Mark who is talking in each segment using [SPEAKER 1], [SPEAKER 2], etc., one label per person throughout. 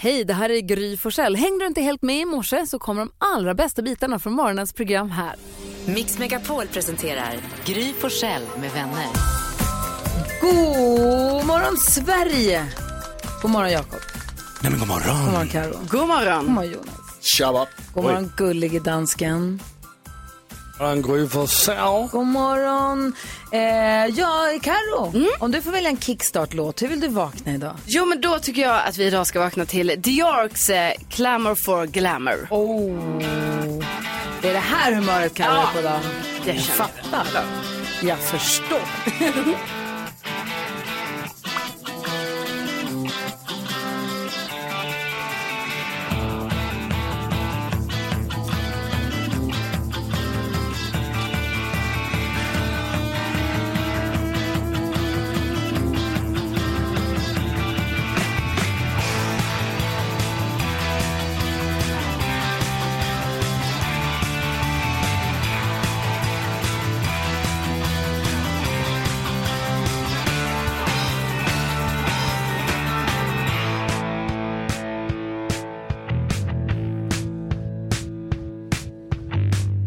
[SPEAKER 1] Hej, det här är Gry Forssell. Hängde du inte helt med i morse så kommer de allra bästa bitarna från morgonens program här.
[SPEAKER 2] Mix Megapol presenterar Gry Forssell med vänner.
[SPEAKER 1] God morgon Sverige! God morgon Jakob.
[SPEAKER 3] Nej men god morgon.
[SPEAKER 1] God morgon Karo.
[SPEAKER 4] God morgon.
[SPEAKER 1] God morgon Jonas.
[SPEAKER 3] Tjaba.
[SPEAKER 1] God morgon gullige dansken.
[SPEAKER 3] Morgon Gry Forssell.
[SPEAKER 1] God morgon. Eh, ja, Karo, om du får välja en kickstart-låt, hur vill du vakna idag?
[SPEAKER 4] Jo, men då tycker jag att vi idag ska vakna till Diorks eh, Clamour for Glamour.
[SPEAKER 1] Oh. Det är det här humöret Karo är
[SPEAKER 4] Ja.
[SPEAKER 1] på idag.
[SPEAKER 4] Det
[SPEAKER 1] Jag
[SPEAKER 4] känner
[SPEAKER 1] fattar. Jag förstår.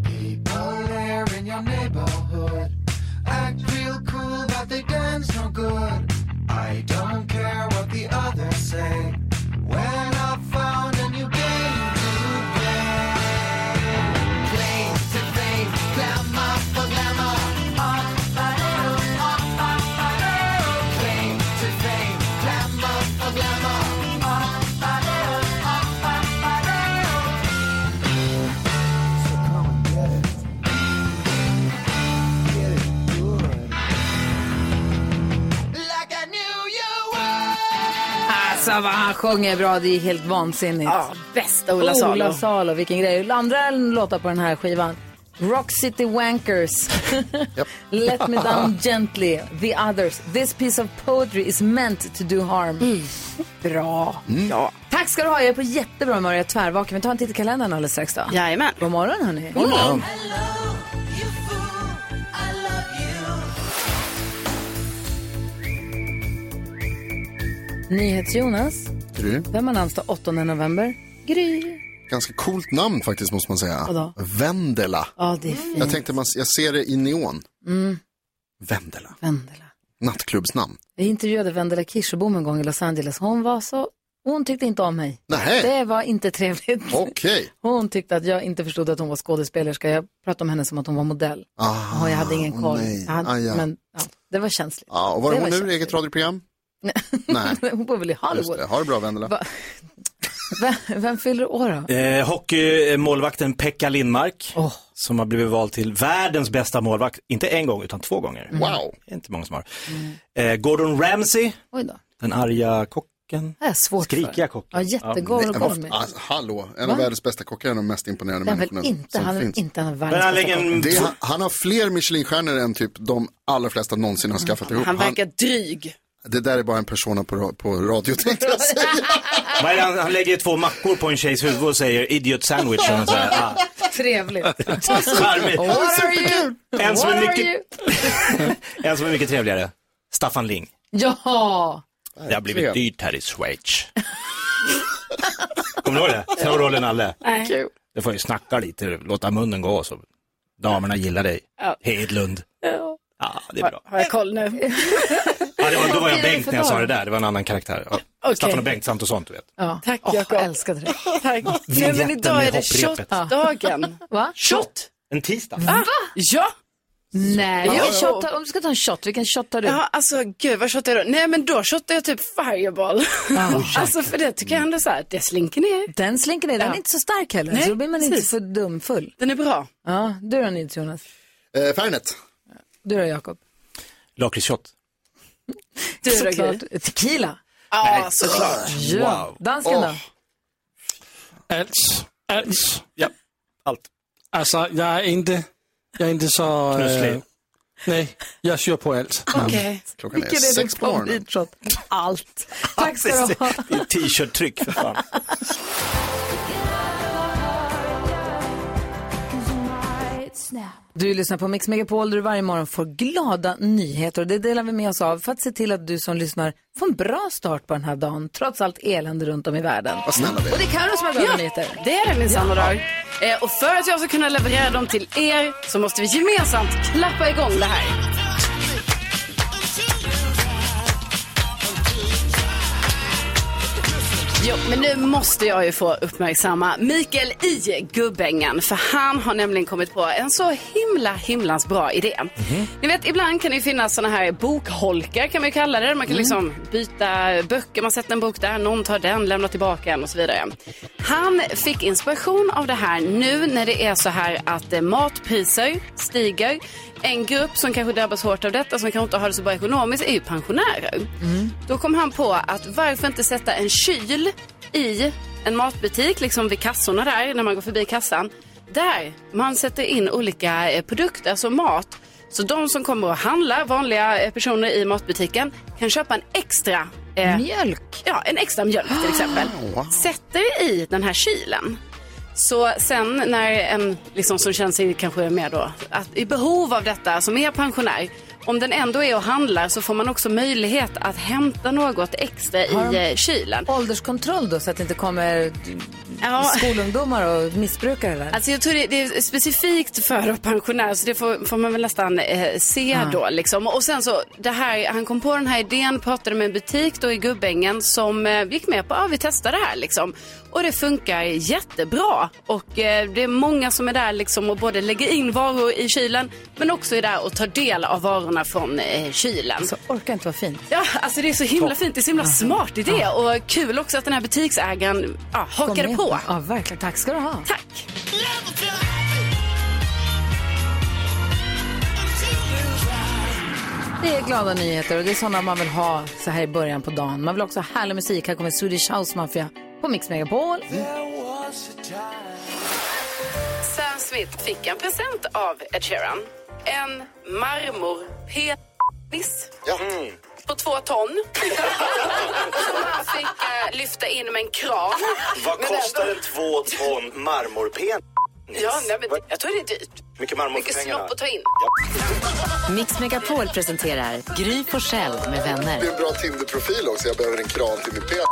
[SPEAKER 5] People there in your neighborhood act real cool, but they guns no good. I don't care what the others say. When I found a new game to play, claim to fame, glamour for glamour. Up, up, up, up, up. Claim to fame, glamour for glamour. Up, up, up, up, up. So come and get it. Get it good. Like I knew you would.
[SPEAKER 1] Alltså vad han sjunger bra, det är helt vansinnigt.
[SPEAKER 4] Ja, bästa Ola Salo.
[SPEAKER 1] Ola Salo, vilken grej. Andra låtar på den här skivan. Rock City Wankers, Let Me Down Gently, The Others, This Piece of Poetry is meant to do harm. Mm. Bra.
[SPEAKER 4] Ja.
[SPEAKER 1] Tack ska du ha, jag är på jättebra humör, jag är tvärvaken. Vi tar en titt i kalendern alldeles strax då.
[SPEAKER 4] Jajamän.
[SPEAKER 1] God morgon hörni.
[SPEAKER 4] God morgon.
[SPEAKER 5] You fool, I love you.
[SPEAKER 1] NyhetsJonas,
[SPEAKER 6] Gry.
[SPEAKER 1] vem har namnsdag 8 november? Gry.
[SPEAKER 6] Ganska coolt namn faktiskt måste man säga.
[SPEAKER 1] Vadå?
[SPEAKER 6] Vendela.
[SPEAKER 1] Ja, det är fint.
[SPEAKER 6] Jag tänkte, man, jag ser det i neon.
[SPEAKER 1] Mm.
[SPEAKER 6] Vendela.
[SPEAKER 1] Vendela.
[SPEAKER 6] Nattklubbsnamn.
[SPEAKER 1] Jag intervjuade Vendela Kirsebom en gång i Los Angeles. Hon var så... Hon tyckte inte om mig.
[SPEAKER 6] Nej.
[SPEAKER 1] Det var inte trevligt.
[SPEAKER 6] okej.
[SPEAKER 1] Hon tyckte att jag inte förstod att hon var skådespelerska. Jag pratade om henne som att hon var modell.
[SPEAKER 6] Ah,
[SPEAKER 1] och jag hade ingen
[SPEAKER 6] åh,
[SPEAKER 1] koll.
[SPEAKER 6] nej.
[SPEAKER 1] Jag hade,
[SPEAKER 6] Ah, ja.
[SPEAKER 1] Men ja, det var känsligt.
[SPEAKER 6] ja, och var är
[SPEAKER 1] det
[SPEAKER 6] hon
[SPEAKER 1] var
[SPEAKER 6] nu? Eget radioprogram? Nej.
[SPEAKER 1] Hon bor väl i
[SPEAKER 6] Just
[SPEAKER 1] Hollywood.
[SPEAKER 6] det. Ha det bra, Vendela.
[SPEAKER 1] Va- Vem, vem fyller år då?
[SPEAKER 3] Eh, hockeymålvakten Pekka Lindmark.
[SPEAKER 1] Åh.
[SPEAKER 3] Som har blivit vald till världens bästa målvakt. Inte en gång, utan två gånger.
[SPEAKER 6] Mm. Wow.
[SPEAKER 3] Det är inte många som har. Eh, Gordon Ramsay,
[SPEAKER 1] Oj då.
[SPEAKER 3] den arga kocken.
[SPEAKER 1] Det här är svårt
[SPEAKER 3] Skrikiga
[SPEAKER 1] för.
[SPEAKER 3] kocken.
[SPEAKER 1] Ja, jättegod och
[SPEAKER 6] En
[SPEAKER 1] god
[SPEAKER 6] av,
[SPEAKER 1] med.
[SPEAKER 6] ah, hallå, en
[SPEAKER 1] Va?
[SPEAKER 6] av världens bästa kockar är den mest imponerande
[SPEAKER 1] Den
[SPEAKER 6] människorna
[SPEAKER 1] väl inte.
[SPEAKER 6] som
[SPEAKER 1] Han är
[SPEAKER 6] finns.
[SPEAKER 1] inte han är
[SPEAKER 3] Men han
[SPEAKER 1] världens
[SPEAKER 3] lägger
[SPEAKER 1] bästa kock.
[SPEAKER 3] en...
[SPEAKER 6] Det är, han- han har fler Michelinstjärnor än typ de allra flesta någonsin har
[SPEAKER 1] Mm.
[SPEAKER 6] skaffat ihop.
[SPEAKER 4] Han verkar dryg.
[SPEAKER 6] det där är bara en persona på, ra- på radio tänkte jag säga.
[SPEAKER 3] Vad är det han, han lägger två mackor på en tjejs huvud och säger idiot sandwich. Och så här, ah,
[SPEAKER 1] Trevligt.
[SPEAKER 3] charmigt.
[SPEAKER 1] What are you?
[SPEAKER 3] En som är
[SPEAKER 1] What are
[SPEAKER 3] mycket-
[SPEAKER 1] you?
[SPEAKER 3] En som är mycket trevligare, Staffan Ling.
[SPEAKER 1] Ja.
[SPEAKER 3] Det har blivit dyrt här i Schweiz. Kommer du ihåg det? Snowrollen Nalle.
[SPEAKER 1] Kul.
[SPEAKER 3] Du får ju snacka lite, låta munnen gå så damerna gillar dig. Hedlund. Ja, det är bra.
[SPEAKER 4] Har jag koll nu?
[SPEAKER 3] Ja, det var, då var jag
[SPEAKER 1] Vad är det
[SPEAKER 3] Bengt
[SPEAKER 1] för
[SPEAKER 3] när jag sa
[SPEAKER 1] dag?
[SPEAKER 3] det där, det var en annan karaktär. Ja. Staffan och Bengt, samt och sånt du vet.
[SPEAKER 1] Ja.
[SPEAKER 4] Tack,
[SPEAKER 1] Åh,
[SPEAKER 4] Jakob.
[SPEAKER 1] Jag älskade det.
[SPEAKER 4] Tack. Nej,
[SPEAKER 3] Vignetten
[SPEAKER 4] men idag är
[SPEAKER 3] med
[SPEAKER 4] det
[SPEAKER 3] hopprepet.
[SPEAKER 4] shotdagen.
[SPEAKER 1] Va?
[SPEAKER 4] Shot?
[SPEAKER 3] En tisdag.
[SPEAKER 4] Ja.
[SPEAKER 1] Nej, jag
[SPEAKER 4] Jo.
[SPEAKER 1] shot, om du ska ta en shot, vilken shot tar du?
[SPEAKER 4] Ja, alltså gud vad shottar jag då? Nej, men då shottar jag typ fireball. alltså för det tycker jag ändå så här, det slinker ner.
[SPEAKER 1] Den slinker ner, den
[SPEAKER 4] Ja.
[SPEAKER 1] är inte så stark heller.
[SPEAKER 4] Nej,
[SPEAKER 1] så då blir man inte
[SPEAKER 4] precis.
[SPEAKER 1] för dumfull.
[SPEAKER 4] Den är bra.
[SPEAKER 1] Ja, du då Nils Jonas?
[SPEAKER 6] Eh, Fernet.
[SPEAKER 1] Du då Jakob?
[SPEAKER 3] Lakritsshot.
[SPEAKER 4] Du då, Gry?
[SPEAKER 1] Såklart. Tequila.
[SPEAKER 4] Ja, såklart.
[SPEAKER 1] Ja.
[SPEAKER 3] Wow.
[SPEAKER 1] Dansken då?
[SPEAKER 6] Åh.
[SPEAKER 7] Allt. Allt.
[SPEAKER 3] Ja, allt.
[SPEAKER 7] Alltså, jag är inte, jag är inte så...
[SPEAKER 3] Knusslig.
[SPEAKER 7] eh, nej, jag kör på Mm. allt.
[SPEAKER 4] Okej.
[SPEAKER 6] Klockan är sex på morgonen.
[SPEAKER 1] favoritshot? Allt. Tack ska du ha.
[SPEAKER 3] Det är t-shirt-tryck för fan.
[SPEAKER 1] Du lyssnar på Mix Megapol där du varje morgon får glada nyheter och det delar vi med oss av för att se till att du som lyssnar får en bra start på den här dagen trots allt elände runt om i världen.
[SPEAKER 6] Vad snälla vi är.
[SPEAKER 1] Och det är Carro som har glada nyheter.
[SPEAKER 4] Det är det minsann ja. dag. Eh, och för att jag ska kunna leverera dem till er så måste vi gemensamt klappa igång det här. Jo, men nu måste jag ju få uppmärksamma Mikael i Gubbängen för han har nämligen kommit på en så himla himlans bra idé. Ni vet, ibland kan det ju finnas såna här bokholkar kan man ju kalla det. Man kan liksom byta böcker, man sätter en bok där, någon tar den, lämnar tillbaka en och så vidare. Han fick inspiration av det här nu när det är så här att eh, matpriser stiger. En grupp som kanske drabbas hårt av detta, som kanske inte har det så bra ekonomiskt, är ju pensionärer.
[SPEAKER 1] Mm.
[SPEAKER 4] Då kom han på att varför inte sätta en kyl i en matbutik, liksom vid kassorna där, när man går förbi kassan. Där man sätter in olika eh, produkter, alltså mat. Så de som kommer och handlar, vanliga eh, personer i matbutiken, kan köpa en extra eh,
[SPEAKER 1] Mjölk.
[SPEAKER 4] ja, en extra mjölk till exempel. Sätter i den här kylen. Så sen när en liksom, som känner sig kanske mer då, att i behov av detta, som är pensionär, om den ändå är och handlar så får man också möjlighet att hämta något extra i eh, kylen.
[SPEAKER 1] Ålderskontroll då så att det inte kommer
[SPEAKER 4] Ja.
[SPEAKER 1] skolungdomar och missbrukare där.
[SPEAKER 4] Alltså jag tror det, det är specifikt för pensionärer så det får, får man väl nästan eh, se då liksom. Och sen så, det här, han kom på den här idén, pratade med en butik då i Gubbängen som eh, gick med på, ja ah, vi testar det här liksom. Och det funkar jättebra. Och eh, det är många som är där liksom och både lägger in varor i kylen men också är där och tar del av varorna från eh, kylen.
[SPEAKER 1] Så orkar inte vara fint.
[SPEAKER 4] Ja, alltså det är så himla fint, det är så himla smart idé och kul också att den här butiksägaren ja,
[SPEAKER 1] Kom
[SPEAKER 4] hakade
[SPEAKER 1] med.
[SPEAKER 4] på.
[SPEAKER 1] Ja, verkligen. Tack ska du ha.
[SPEAKER 4] Tack!
[SPEAKER 1] Det är glada nyheter och det är sådana man vill ha så här i början på dagen. Man vill också ha härlig musik. Här kommer Swedish House Mafia på Mix Megapol.
[SPEAKER 4] Hmm? Sam Smith fick en present av Ed Sheeran. En marmorpenis på två ton. Som han fick eh, lyfta in med en kran.
[SPEAKER 3] Vad kostar en två ton marmorpen?
[SPEAKER 4] Ja, nej, men det- jag tror det är dyrt.
[SPEAKER 3] Mycket marmor för
[SPEAKER 4] Mycket
[SPEAKER 3] pengarna.
[SPEAKER 4] snopp att ta in.
[SPEAKER 8] Mix Megapol presenterar Gry Forssell med
[SPEAKER 6] Det är
[SPEAKER 8] vänner.
[SPEAKER 6] en bra Tinder-profil också. Jag behöver en kran till min penis.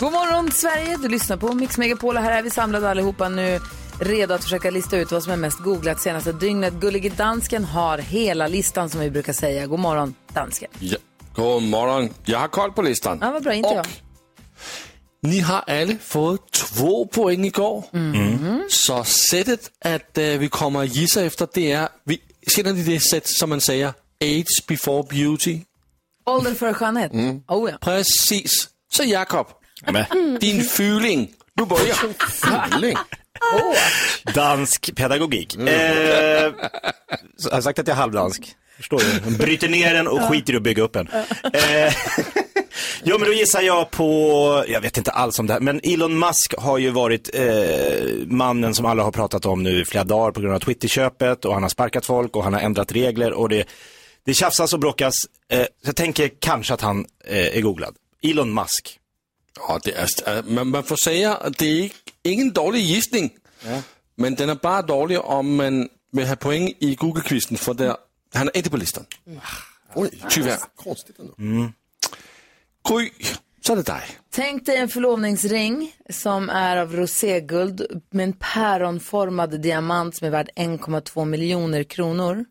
[SPEAKER 1] God morgon Sverige, du lyssnar på Mix Megapol och här är vi samlade allihopa nu redo att försöka lista ut vad som är mest googlat senaste dygnet. Gullige dansken har hela listan som vi brukar säga. God morgon dansken.
[SPEAKER 7] Ja. God morgon. Jag har koll på listan.
[SPEAKER 1] Ja, vad bra, inte jag.
[SPEAKER 7] Ni har alla fått två poäng igår. Så sättet att eh, vi kommer att gissa efter det är, vi, känner ni det sätt som man säger, age before beauty?
[SPEAKER 1] Åldern före skönhet. Oh, ja.
[SPEAKER 7] Precis. Så Jakob,
[SPEAKER 9] Men,
[SPEAKER 7] din fuling, du börjar.
[SPEAKER 3] Dansk pedagogik. Eh, så jag har sagt att jag är halvdansk. Förstår du? De Bryter ner den och skiter i att bygga upp en. Eh, jo, men då gissar jag på, jag vet inte alls om det här, men Elon Musk har ju varit eh, mannen som alla har pratat om nu i flera dagar på grund av Twitterköpet och han har sparkat folk och han har ändrat regler och det, det tjafsas och bråkas. Eh, så jag tänker kanske att han eh, är googlad. Elon Musk.
[SPEAKER 7] Ja, det är, man, man får säga att det är ik- ingen dålig gissning. Men den är bara dålig om man vill ha poäng i Google-quizen, för där, han är inte på listan.
[SPEAKER 6] Oj,
[SPEAKER 7] Tyvärr.
[SPEAKER 6] konstigt ändå.
[SPEAKER 7] Gry, så är det dig.
[SPEAKER 1] Tänk dig en förlovningsring som är av roséguld med en päronformad diamant som är värd 1,2 miljoner kronor.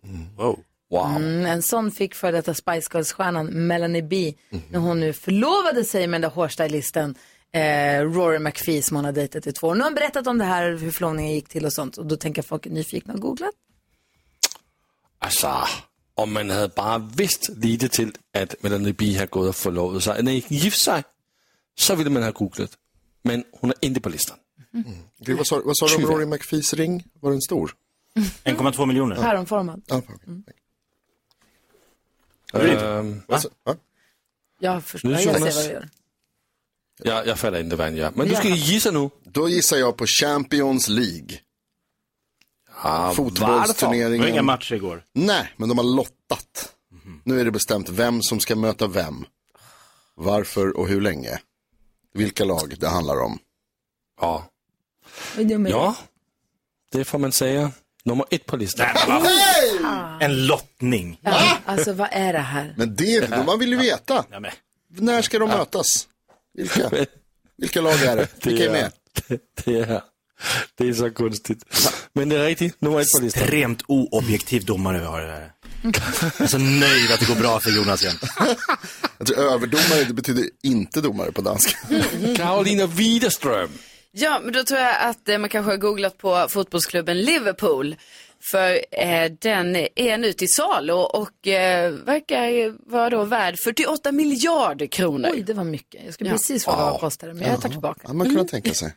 [SPEAKER 7] Wow.
[SPEAKER 1] Mm, en sån fick för detta Spice Girls-stjärnan Melanie B när hon nu förlovade sig med den där hårstylisten eh, Rory McPhee som hon har dejtat i två år. Nu har hon berättat om det här, hur förlovningen gick till och sånt. Och då tänker jag folk är nyfikna och googlat.
[SPEAKER 7] Altså, om man hade bara vidst lite till att Melanie B har gått och förlovat sig, nej, gift sig, så ville man ha googlat. Men hon är inte på listan.
[SPEAKER 6] Gud, vad sa, vad sa du om
[SPEAKER 7] Tyvärr.
[SPEAKER 6] Rory McPhees ring? Var den stor?
[SPEAKER 3] 1,2
[SPEAKER 7] Mm.
[SPEAKER 3] miljoner.
[SPEAKER 1] Päronformad.
[SPEAKER 6] Ja, fan, okej.
[SPEAKER 7] Øhm,
[SPEAKER 6] Vad sa- va?
[SPEAKER 1] Jag förstår,
[SPEAKER 7] Nu,
[SPEAKER 1] jag ser vad
[SPEAKER 7] Jonas.
[SPEAKER 1] du gör.
[SPEAKER 7] jag, jag fatter inte vad han gör. Men du ska
[SPEAKER 1] Ja.
[SPEAKER 7] gissa nu.
[SPEAKER 6] Då gissar jag på Champions League.
[SPEAKER 7] Ah,
[SPEAKER 3] Det var inga
[SPEAKER 6] Fotbollsturneringen.
[SPEAKER 3] matcher igår.
[SPEAKER 6] Nej, men de har lottat. Nu är det bestämt vem som ska möta vem. Varför och hur länge. Vilka lag det handlar om.
[SPEAKER 7] Ja.
[SPEAKER 1] Vad gör man?
[SPEAKER 7] ja, Det får man säga. Nummer ett på listan.
[SPEAKER 3] En lottning.
[SPEAKER 1] Ja, alltså vad är det här?
[SPEAKER 6] Men det är man vill ju veta.
[SPEAKER 3] Ja, men.
[SPEAKER 6] När ska de mötas? Vilka, vilka lag är det? Vilka är med?
[SPEAKER 7] Det, det, är, det är så konstigt. Men det är riktigt, nummer ett på listan.
[SPEAKER 3] Extremt oobjektiv domare vi har i det här. Jag är så nöjd att det går bra för Jonas igen.
[SPEAKER 6] Jag tror överdomare det betyder inte domare på danska.
[SPEAKER 7] Karolina Widerström.
[SPEAKER 4] Ja, men då tror jag att eh, man kanske har googlat på fotbollsklubben Liverpool. För eh, den är nu till salu och eh, verkar vara då värd 48 miljarder kronor.
[SPEAKER 1] Oj, det var mycket. Jag skulle precis fråga vad det kostade, men jag tar tillbaka.
[SPEAKER 6] Hade man kunnat tänka sig.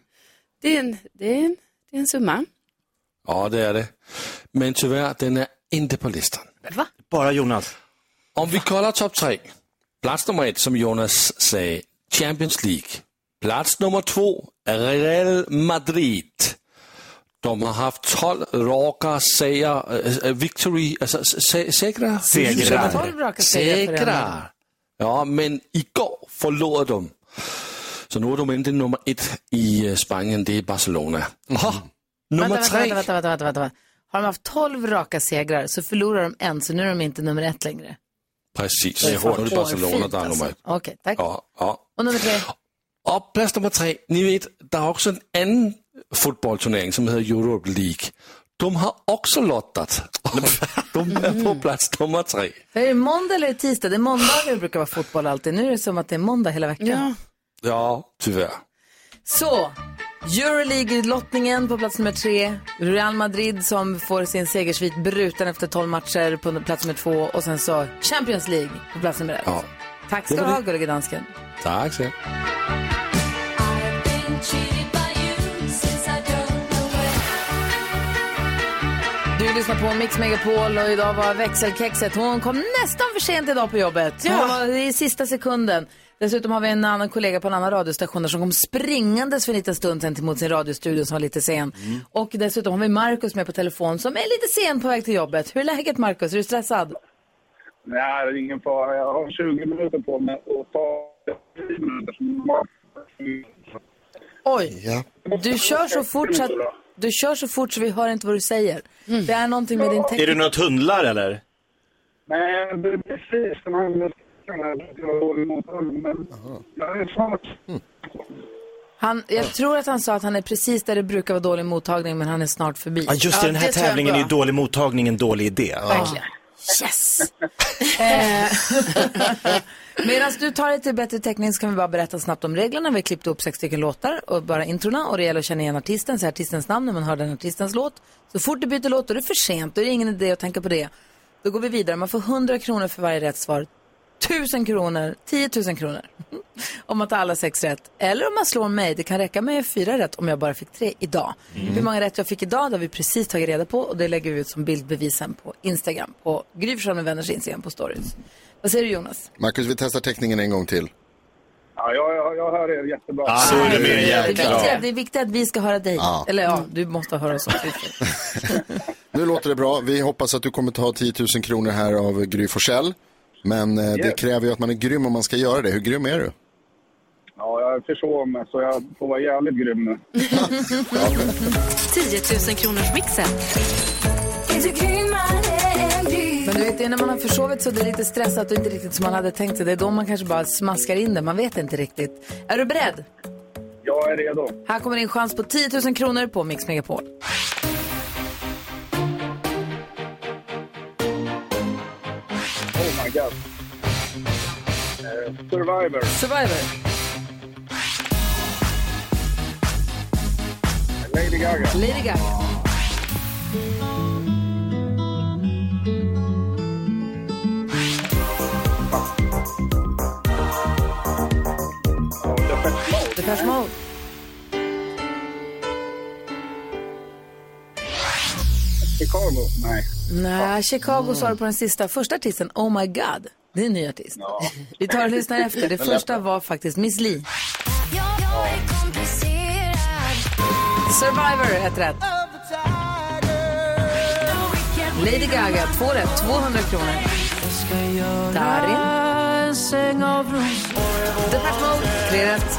[SPEAKER 4] Det är en, det är en, det är en summa.
[SPEAKER 7] Ja, det är det. Men tyvärr, den är inte på listan.
[SPEAKER 3] Bara Jonas.
[SPEAKER 7] Om vi kollar topp tre. Plats nummer ett, som Jonas säger, Champions League. Plats nummer två, Real Madrid. De har haft 12 raka seger, äh, victory, alltså se- se- segrar?
[SPEAKER 3] Segrar.
[SPEAKER 1] Tolv raka segrar för den.
[SPEAKER 7] Segrar! Ja, men igår förlorade de. Så nu är de inte nummer ett i eh, Spanien, det är Barcelona. Aha. Nummer
[SPEAKER 1] Vänta,
[SPEAKER 7] tre.
[SPEAKER 1] vänta, vänta, vänta, vänta, vänta, vänta. Har de haft 12 raka segrar så förlorar de en, så nu är de inte nummer ett längre.
[SPEAKER 7] Precis,
[SPEAKER 1] Det är
[SPEAKER 7] nu är det
[SPEAKER 1] fan
[SPEAKER 7] Barcelona
[SPEAKER 1] hårfint,
[SPEAKER 7] där är nummer
[SPEAKER 1] alltså.
[SPEAKER 7] ett.
[SPEAKER 1] Okej, tack.
[SPEAKER 7] Ja, ja.
[SPEAKER 1] Och nummer tre?
[SPEAKER 7] Och plats nummer tre, ni vet, det är också en annan fotbollsturnering som heter Europe League. De har också lottat. De är på plats nummer tre.
[SPEAKER 1] För är det måndag eller är det tisdag? Det är måndag det brukar vara fotboll alltid. Nu är det som att det är måndag hela veckan.
[SPEAKER 7] Ja, tyvärr.
[SPEAKER 1] Så, Euroleague-lottningen på plats nummer tre. Real Madrid som får sin segersvit bruten efter 12 matcher på plats nummer två. Och sen så Champions League på plats nummer ett.
[SPEAKER 7] Ja.
[SPEAKER 1] Tack ska du ha, gullige dansken.
[SPEAKER 7] Tack så mycket.
[SPEAKER 1] Du lyssnar på Mix Megapol och idag var växelkexet. Hon kom nästan för sent idag på jobbet. Hon var i sista sekunden. Dessutom har vi en annan kollega på en annan radiostation där som kom springandes för en liten stund sedan till mot sin radiostudio som var lite sen.
[SPEAKER 3] Mm.
[SPEAKER 1] Och dessutom har vi Markus med på telefon som är lite sen på väg till jobbet. Hur är läget Markus? Är du stressad?
[SPEAKER 10] Nej, det är ingen fara. Jag har 20 minuter på mig att ta 10 minuter som normalt.
[SPEAKER 1] Oj, du kör så fort så att, du kör så fort så vi hör inte vad du säger.
[SPEAKER 3] Mm.
[SPEAKER 1] Det är någonting med din
[SPEAKER 3] Är
[SPEAKER 1] text.
[SPEAKER 3] det något hundlar eller?
[SPEAKER 10] Men det är precis den här veckan att jag har dålig mottagning. Men jag är snart...
[SPEAKER 1] Han, jag tror att han sa att han är precis där det brukar vara dålig mottagning men han är snart förbi.
[SPEAKER 3] Ja, just det, den här
[SPEAKER 4] det tror jag
[SPEAKER 3] tävlingen är
[SPEAKER 4] bra.
[SPEAKER 3] ju dålig mottagning, en dålig idé.
[SPEAKER 4] Verkligen.
[SPEAKER 1] Yes! Medan du tar dig till bättre täckning så kan vi bara berätta snabbt om reglerna. Vi har klippt upp sex stycken låtar och bara introna och det gäller att känna igen artisten, säga artistens namn när man hör den artistens låt. Så fort du byter låt då är det för sent, då är det ingen idé att tänka på det. Då går vi vidare, man får 100 kronor för varje rätt svar. 1000 kronor, 10 000 kronor. om man tar alla sex rätt. Eller om man slår mig, det kan räcka med fyra rätt om jag bara fick tre idag. Hur många rätt jag fick idag det har vi precis tagit reda på och det lägger vi ut som bildbevisen på Instagram, på Gry Forssell med vänners Instagram på stories. Vad säger du Jonas?
[SPEAKER 6] Marcus, vi testar teckningen en gång till.
[SPEAKER 10] Ja, jag, jag, jag hör er jättebra.
[SPEAKER 3] Ja, så är det med
[SPEAKER 1] Det
[SPEAKER 3] igen.
[SPEAKER 1] är viktigt, det är viktigt att vi ska höra dig.
[SPEAKER 6] Ja.
[SPEAKER 1] Eller ja, du måste höra oss också.
[SPEAKER 6] Nu låter det bra. Vi hoppas att du kommer ta 10 000 kronor här av Gry Forssell. Men eh, det kräver ju att man är grym om man ska göra det. Hur grym är du?
[SPEAKER 10] Ja, jag förstår mig, så jag får vara jävligt grym nu.
[SPEAKER 8] 10 000 kronors mixen.
[SPEAKER 1] Men du vet, det är när man har försovit så det är lite stressat och inte riktigt som man hade tänkt sig. Det är då man kanske bara smaskar in det, man vet inte riktigt. Är du beredd?
[SPEAKER 10] Jag är redo.
[SPEAKER 1] Här kommer din chans på 10 000 kronor på Mix Megapol.
[SPEAKER 10] Oh my god. Eh, Survivor.
[SPEAKER 1] Survivor,
[SPEAKER 10] Lady Gaga.
[SPEAKER 1] Lady Gaga,
[SPEAKER 10] Ja, Depeche Mode.
[SPEAKER 1] Depeche Mode,
[SPEAKER 10] Chicago. Nej.
[SPEAKER 1] Nej, Chicago sa du på den sista. Första artisten, Oh My God, det är en ny artist. Vi tar och lyssnar efter. Det första var faktiskt Miss Li. Survivor, ett rätt. Lady Gaga, två rätt, 200 kronor. Darin. Depeche Mode, tre rätt.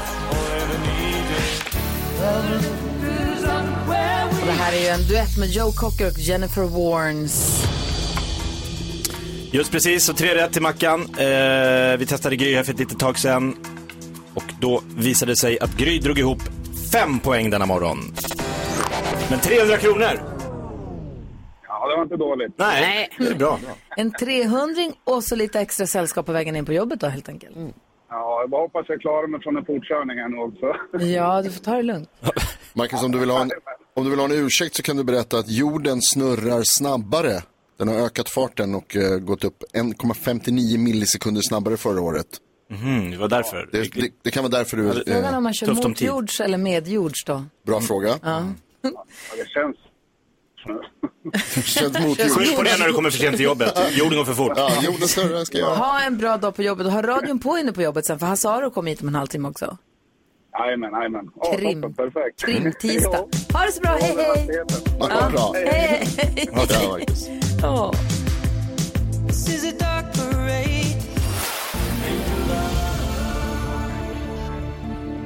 [SPEAKER 1] Och det här här är ju en duett med Joe Cocker och Jennifer Warnes.
[SPEAKER 3] Just precis, så tre rätt till Mackan. Eh, vi testade Gry här för ett litet tag sedan. Och då visade det sig att Gry drog ihop fem poäng denna morgon. Men 300 kronor!
[SPEAKER 10] Ja, det var inte dåligt.
[SPEAKER 3] Nej, det är bra.
[SPEAKER 1] En 300 och så lite extra sällskap på vägen in på jobbet då helt enkelt.
[SPEAKER 10] Ja, jag bara hoppas jag klarar mig från en fortkörning här nu också.
[SPEAKER 1] Ja, du får ta det lugnt.
[SPEAKER 6] Marcus, om du, vill ha en, om du vill ha en ursäkt så kan du berätta att jorden snurrar snabbare. Den har ökat farten och eh, gått upp 1,59 millisekunder snabbare förra året.
[SPEAKER 3] Mhm, det var därför.
[SPEAKER 6] Det, det, det kan vara därför du...
[SPEAKER 1] Frågan om man kör
[SPEAKER 6] Tufft om tid.
[SPEAKER 1] motjords eller medjords då?
[SPEAKER 6] Bra fråga.
[SPEAKER 1] Ja.
[SPEAKER 10] Det känns...
[SPEAKER 6] Känns motjords.
[SPEAKER 3] Skyll på det när du kommer för sent till jobbet. Jorden går för fort.
[SPEAKER 6] Ja, jorden snurrar ska jag.
[SPEAKER 1] Ha en bra dag på jobbet och ha radion på inne på jobbet sen för Hasse Aro kommer hit om en halvtimme också.
[SPEAKER 10] Jajamän, jajamän. Ja,
[SPEAKER 1] Krim.
[SPEAKER 10] toppen, Perfekt.
[SPEAKER 1] Krimtisdag. Ha det så bra, hej hej!
[SPEAKER 6] Ja, bra.
[SPEAKER 1] Hej,
[SPEAKER 6] Ja, bra, Marcus.
[SPEAKER 1] Åh.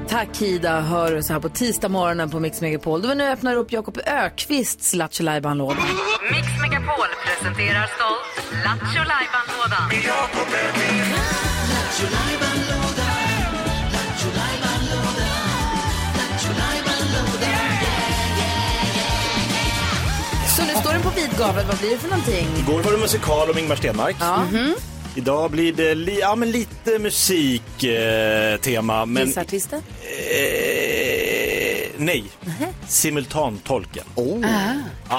[SPEAKER 1] Tack Ida, hör du så här på tisdag morgonen på Mix Megapol. Då vi nu öppnar upp Jakob Ökvists Lattjo Lajban-låda.
[SPEAKER 8] Mix Megapol presenterar stolt Lattjo Lajban-lådan.
[SPEAKER 1] Så nu står den på vid gavel, vad blir det för någonting?
[SPEAKER 3] Igår var det musikal om Ingmar Stenmark. Mm. Idag blir det li- ja, men lite musiktema. Eh, tema, men
[SPEAKER 1] Gissartisten?
[SPEAKER 3] eh, nej, simultantolken.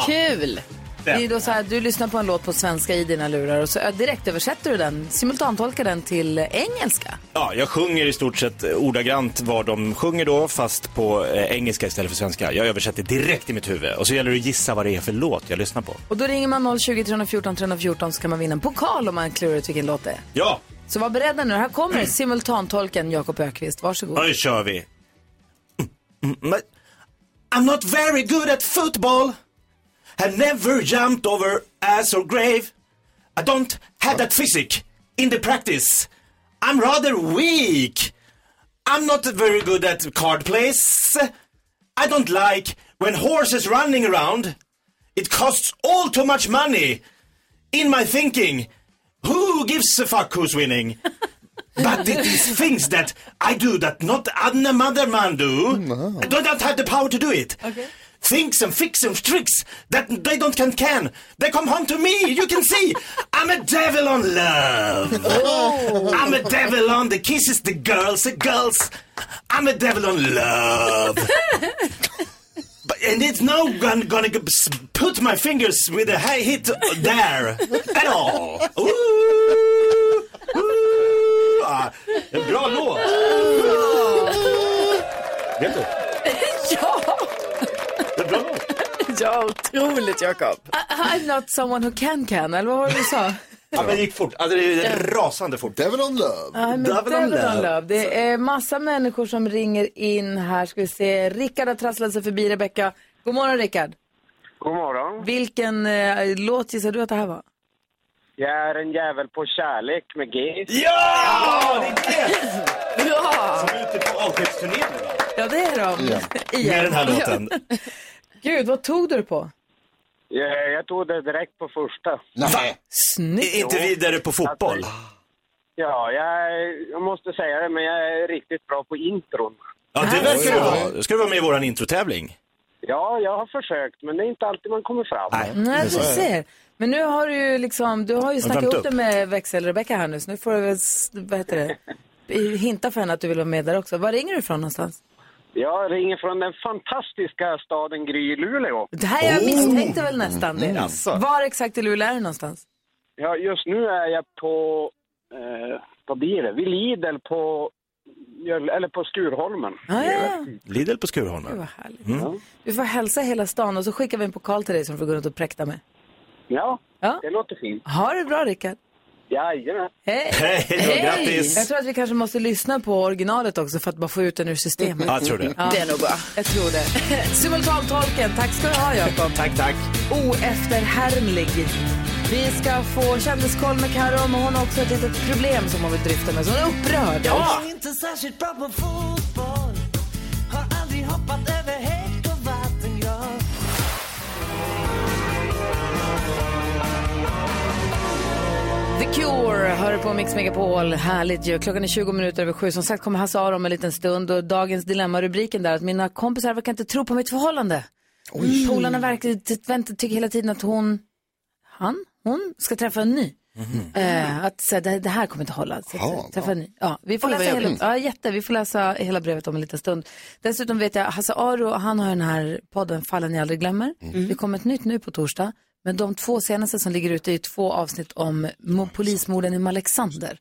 [SPEAKER 4] Kul!
[SPEAKER 1] Det är ju då så här, du lyssnar på en låt på svenska i dina lurar och så ö, direkt översätter du den, simultantolkar den till engelska.
[SPEAKER 3] Ja, jag sjunger i stort sett ordagrant vad de sjunger då, fast på eh, engelska istället för svenska. Jag översätter direkt i mitt huvud och så gäller det att gissa vad det är för låt jag lyssnar på.
[SPEAKER 1] Och då ringer man 020 314 314 så kan man vinna en pokal om man klurar ut vilken låt det är.
[SPEAKER 3] Ja,
[SPEAKER 1] Så var beredda nu, här kommer simultantolken Jakob Ökvist. Varsågod.
[SPEAKER 3] nu kör vi. Mm, mm, but I'm not very good at football. I never jumped over ass or grave. I don't have that physic in the practice. I'm rather weak. I'm not very good at card plays. I don't like when horses running around. It costs all too much money. In my thinking, who gives a fuck who's winning? But it is things that I do that not another man do. I don't have the power to do it. Things and fix and tricks that they don't can can. They come home to me. You can see, I'm a devil on love.
[SPEAKER 1] Oh.
[SPEAKER 3] I'm a devil on the kisses, the girls, the girls. I'm a devil on love. But, and it's no gun gonna g- s- put my fingers with a high hit there at all. Ooh, ooh, ah, en bra låt. Vet du?
[SPEAKER 1] Ja!
[SPEAKER 3] Det är en bra låt.
[SPEAKER 4] Ja, otroligt Jakob.
[SPEAKER 1] I'm not someone who can can, eller vad var det du sa?
[SPEAKER 3] Ja, men det gick fort. Alltså, det är rasande fort.
[SPEAKER 6] Devil on love.
[SPEAKER 1] I'm a
[SPEAKER 3] Devil
[SPEAKER 1] devil
[SPEAKER 3] on
[SPEAKER 1] on
[SPEAKER 3] love.
[SPEAKER 1] love. Det är massa människor som ringer in här. Ska vi se, Rickard har trasslat sig förbi Rebecka. God morgon Rickard.
[SPEAKER 11] God morgon.
[SPEAKER 1] Vilken eh, låt gissar du att det här var?
[SPEAKER 11] Jag är en jävel på kärlek med G.
[SPEAKER 3] Ja! Det är det!
[SPEAKER 1] Ja,
[SPEAKER 3] De är ute på avskedsturné nu, va?
[SPEAKER 1] ja det är de.
[SPEAKER 3] Med
[SPEAKER 1] Igen.
[SPEAKER 3] den här låten.
[SPEAKER 1] Gud, vad tog du det på?
[SPEAKER 11] Jag, jag tog det direkt på första.
[SPEAKER 6] Nej.
[SPEAKER 1] Snyggt.
[SPEAKER 3] Inte vidare på fotboll.
[SPEAKER 11] Ja, jag, jag måste säga det, men jag är riktigt bra på intron.
[SPEAKER 3] Ja, det verkar du vara. Ska du vara med i vår introtävling?
[SPEAKER 11] Ja, jag har försökt, men det är inte alltid man kommer fram.
[SPEAKER 1] Nej, du ser. Men nu har du ju liksom, du har ju snackat
[SPEAKER 3] värmt
[SPEAKER 1] upp det
[SPEAKER 3] upp.
[SPEAKER 1] med växel-Rebecka här nu, så nu får du väl, s- vad heter det, i- hinta för henne att du vill vara med där också. Var ringer du ifrån någonstans?
[SPEAKER 11] Jag ringer från den fantastiska staden Gry i Luleå.
[SPEAKER 1] Det här,
[SPEAKER 11] Oh!
[SPEAKER 3] Oh!
[SPEAKER 1] jag misstänkte väl nästan det. Var exakt i Luleå är du någonstans?
[SPEAKER 11] Ja, just nu är jag på, eh, vad blir det, vid Lidl på, eller på Skurholmen.
[SPEAKER 1] Ja, ja, ja.
[SPEAKER 3] Lidl på
[SPEAKER 1] Gud,
[SPEAKER 3] Skurholmen. Mm.
[SPEAKER 1] vad härligt. Du får hälsa hela stan och så skickar vi en pokal till dig som du får gå runt och präkta med.
[SPEAKER 11] Ja,
[SPEAKER 1] Ja.
[SPEAKER 11] det låter fint.
[SPEAKER 1] Ha det bra, Rickard.
[SPEAKER 11] Jajamän.
[SPEAKER 1] Hej!
[SPEAKER 3] Hej då,
[SPEAKER 1] Jag
[SPEAKER 3] grattis!
[SPEAKER 1] tror att vi kanske måste lyssna på originalet också för att bara få ut den ur systemet.
[SPEAKER 3] Ja, jag tror det.
[SPEAKER 4] Det är nog bra.
[SPEAKER 1] Jag tror det. Simultantolken, tack ska du ha Jakob.
[SPEAKER 3] Tack, tack.
[SPEAKER 1] Oefterhärmlig. Vi ska få kändiskoll med Karo, men hon har också ett litet problem som hon vill dryfta med. Så hon är upprörd. Ja.
[SPEAKER 12] Inte särskilt bra på fotboll Har aldrig hoppat över häck och vatten jag
[SPEAKER 1] Cure hör du på Mix Megapol. Härligt ju. Klockan är 20 minuter över sju. Som sagt kommer Hasse Aro om en liten stund. Och dagens dilemma-rubriken där att mina kompisar verkar inte tro på mitt förhållande. Mm.
[SPEAKER 5] Oj.
[SPEAKER 1] Polarna verkar ty- vänta- tycker hela tiden att hon, han, hon ska träffa en ny. Eh, att så, här, det, det här kommer inte hålla. Så,
[SPEAKER 5] Mhm. Ja,
[SPEAKER 1] så, träffa en ny. Ja, vi får
[SPEAKER 5] Oj, vad
[SPEAKER 1] läsa hela,
[SPEAKER 5] jobbigt.
[SPEAKER 1] ja, jätte, vi får läsa hela brevet om en liten stund. Dessutom vet jag Hasse Aro, han har den här podden Fallen ni aldrig glömmer.
[SPEAKER 5] Mm.
[SPEAKER 1] Mm. Det kommer ett nytt nu på torsdag. Men de två senaste som ligger ute är ju två avsnitt om mo- polismorden i Malexander.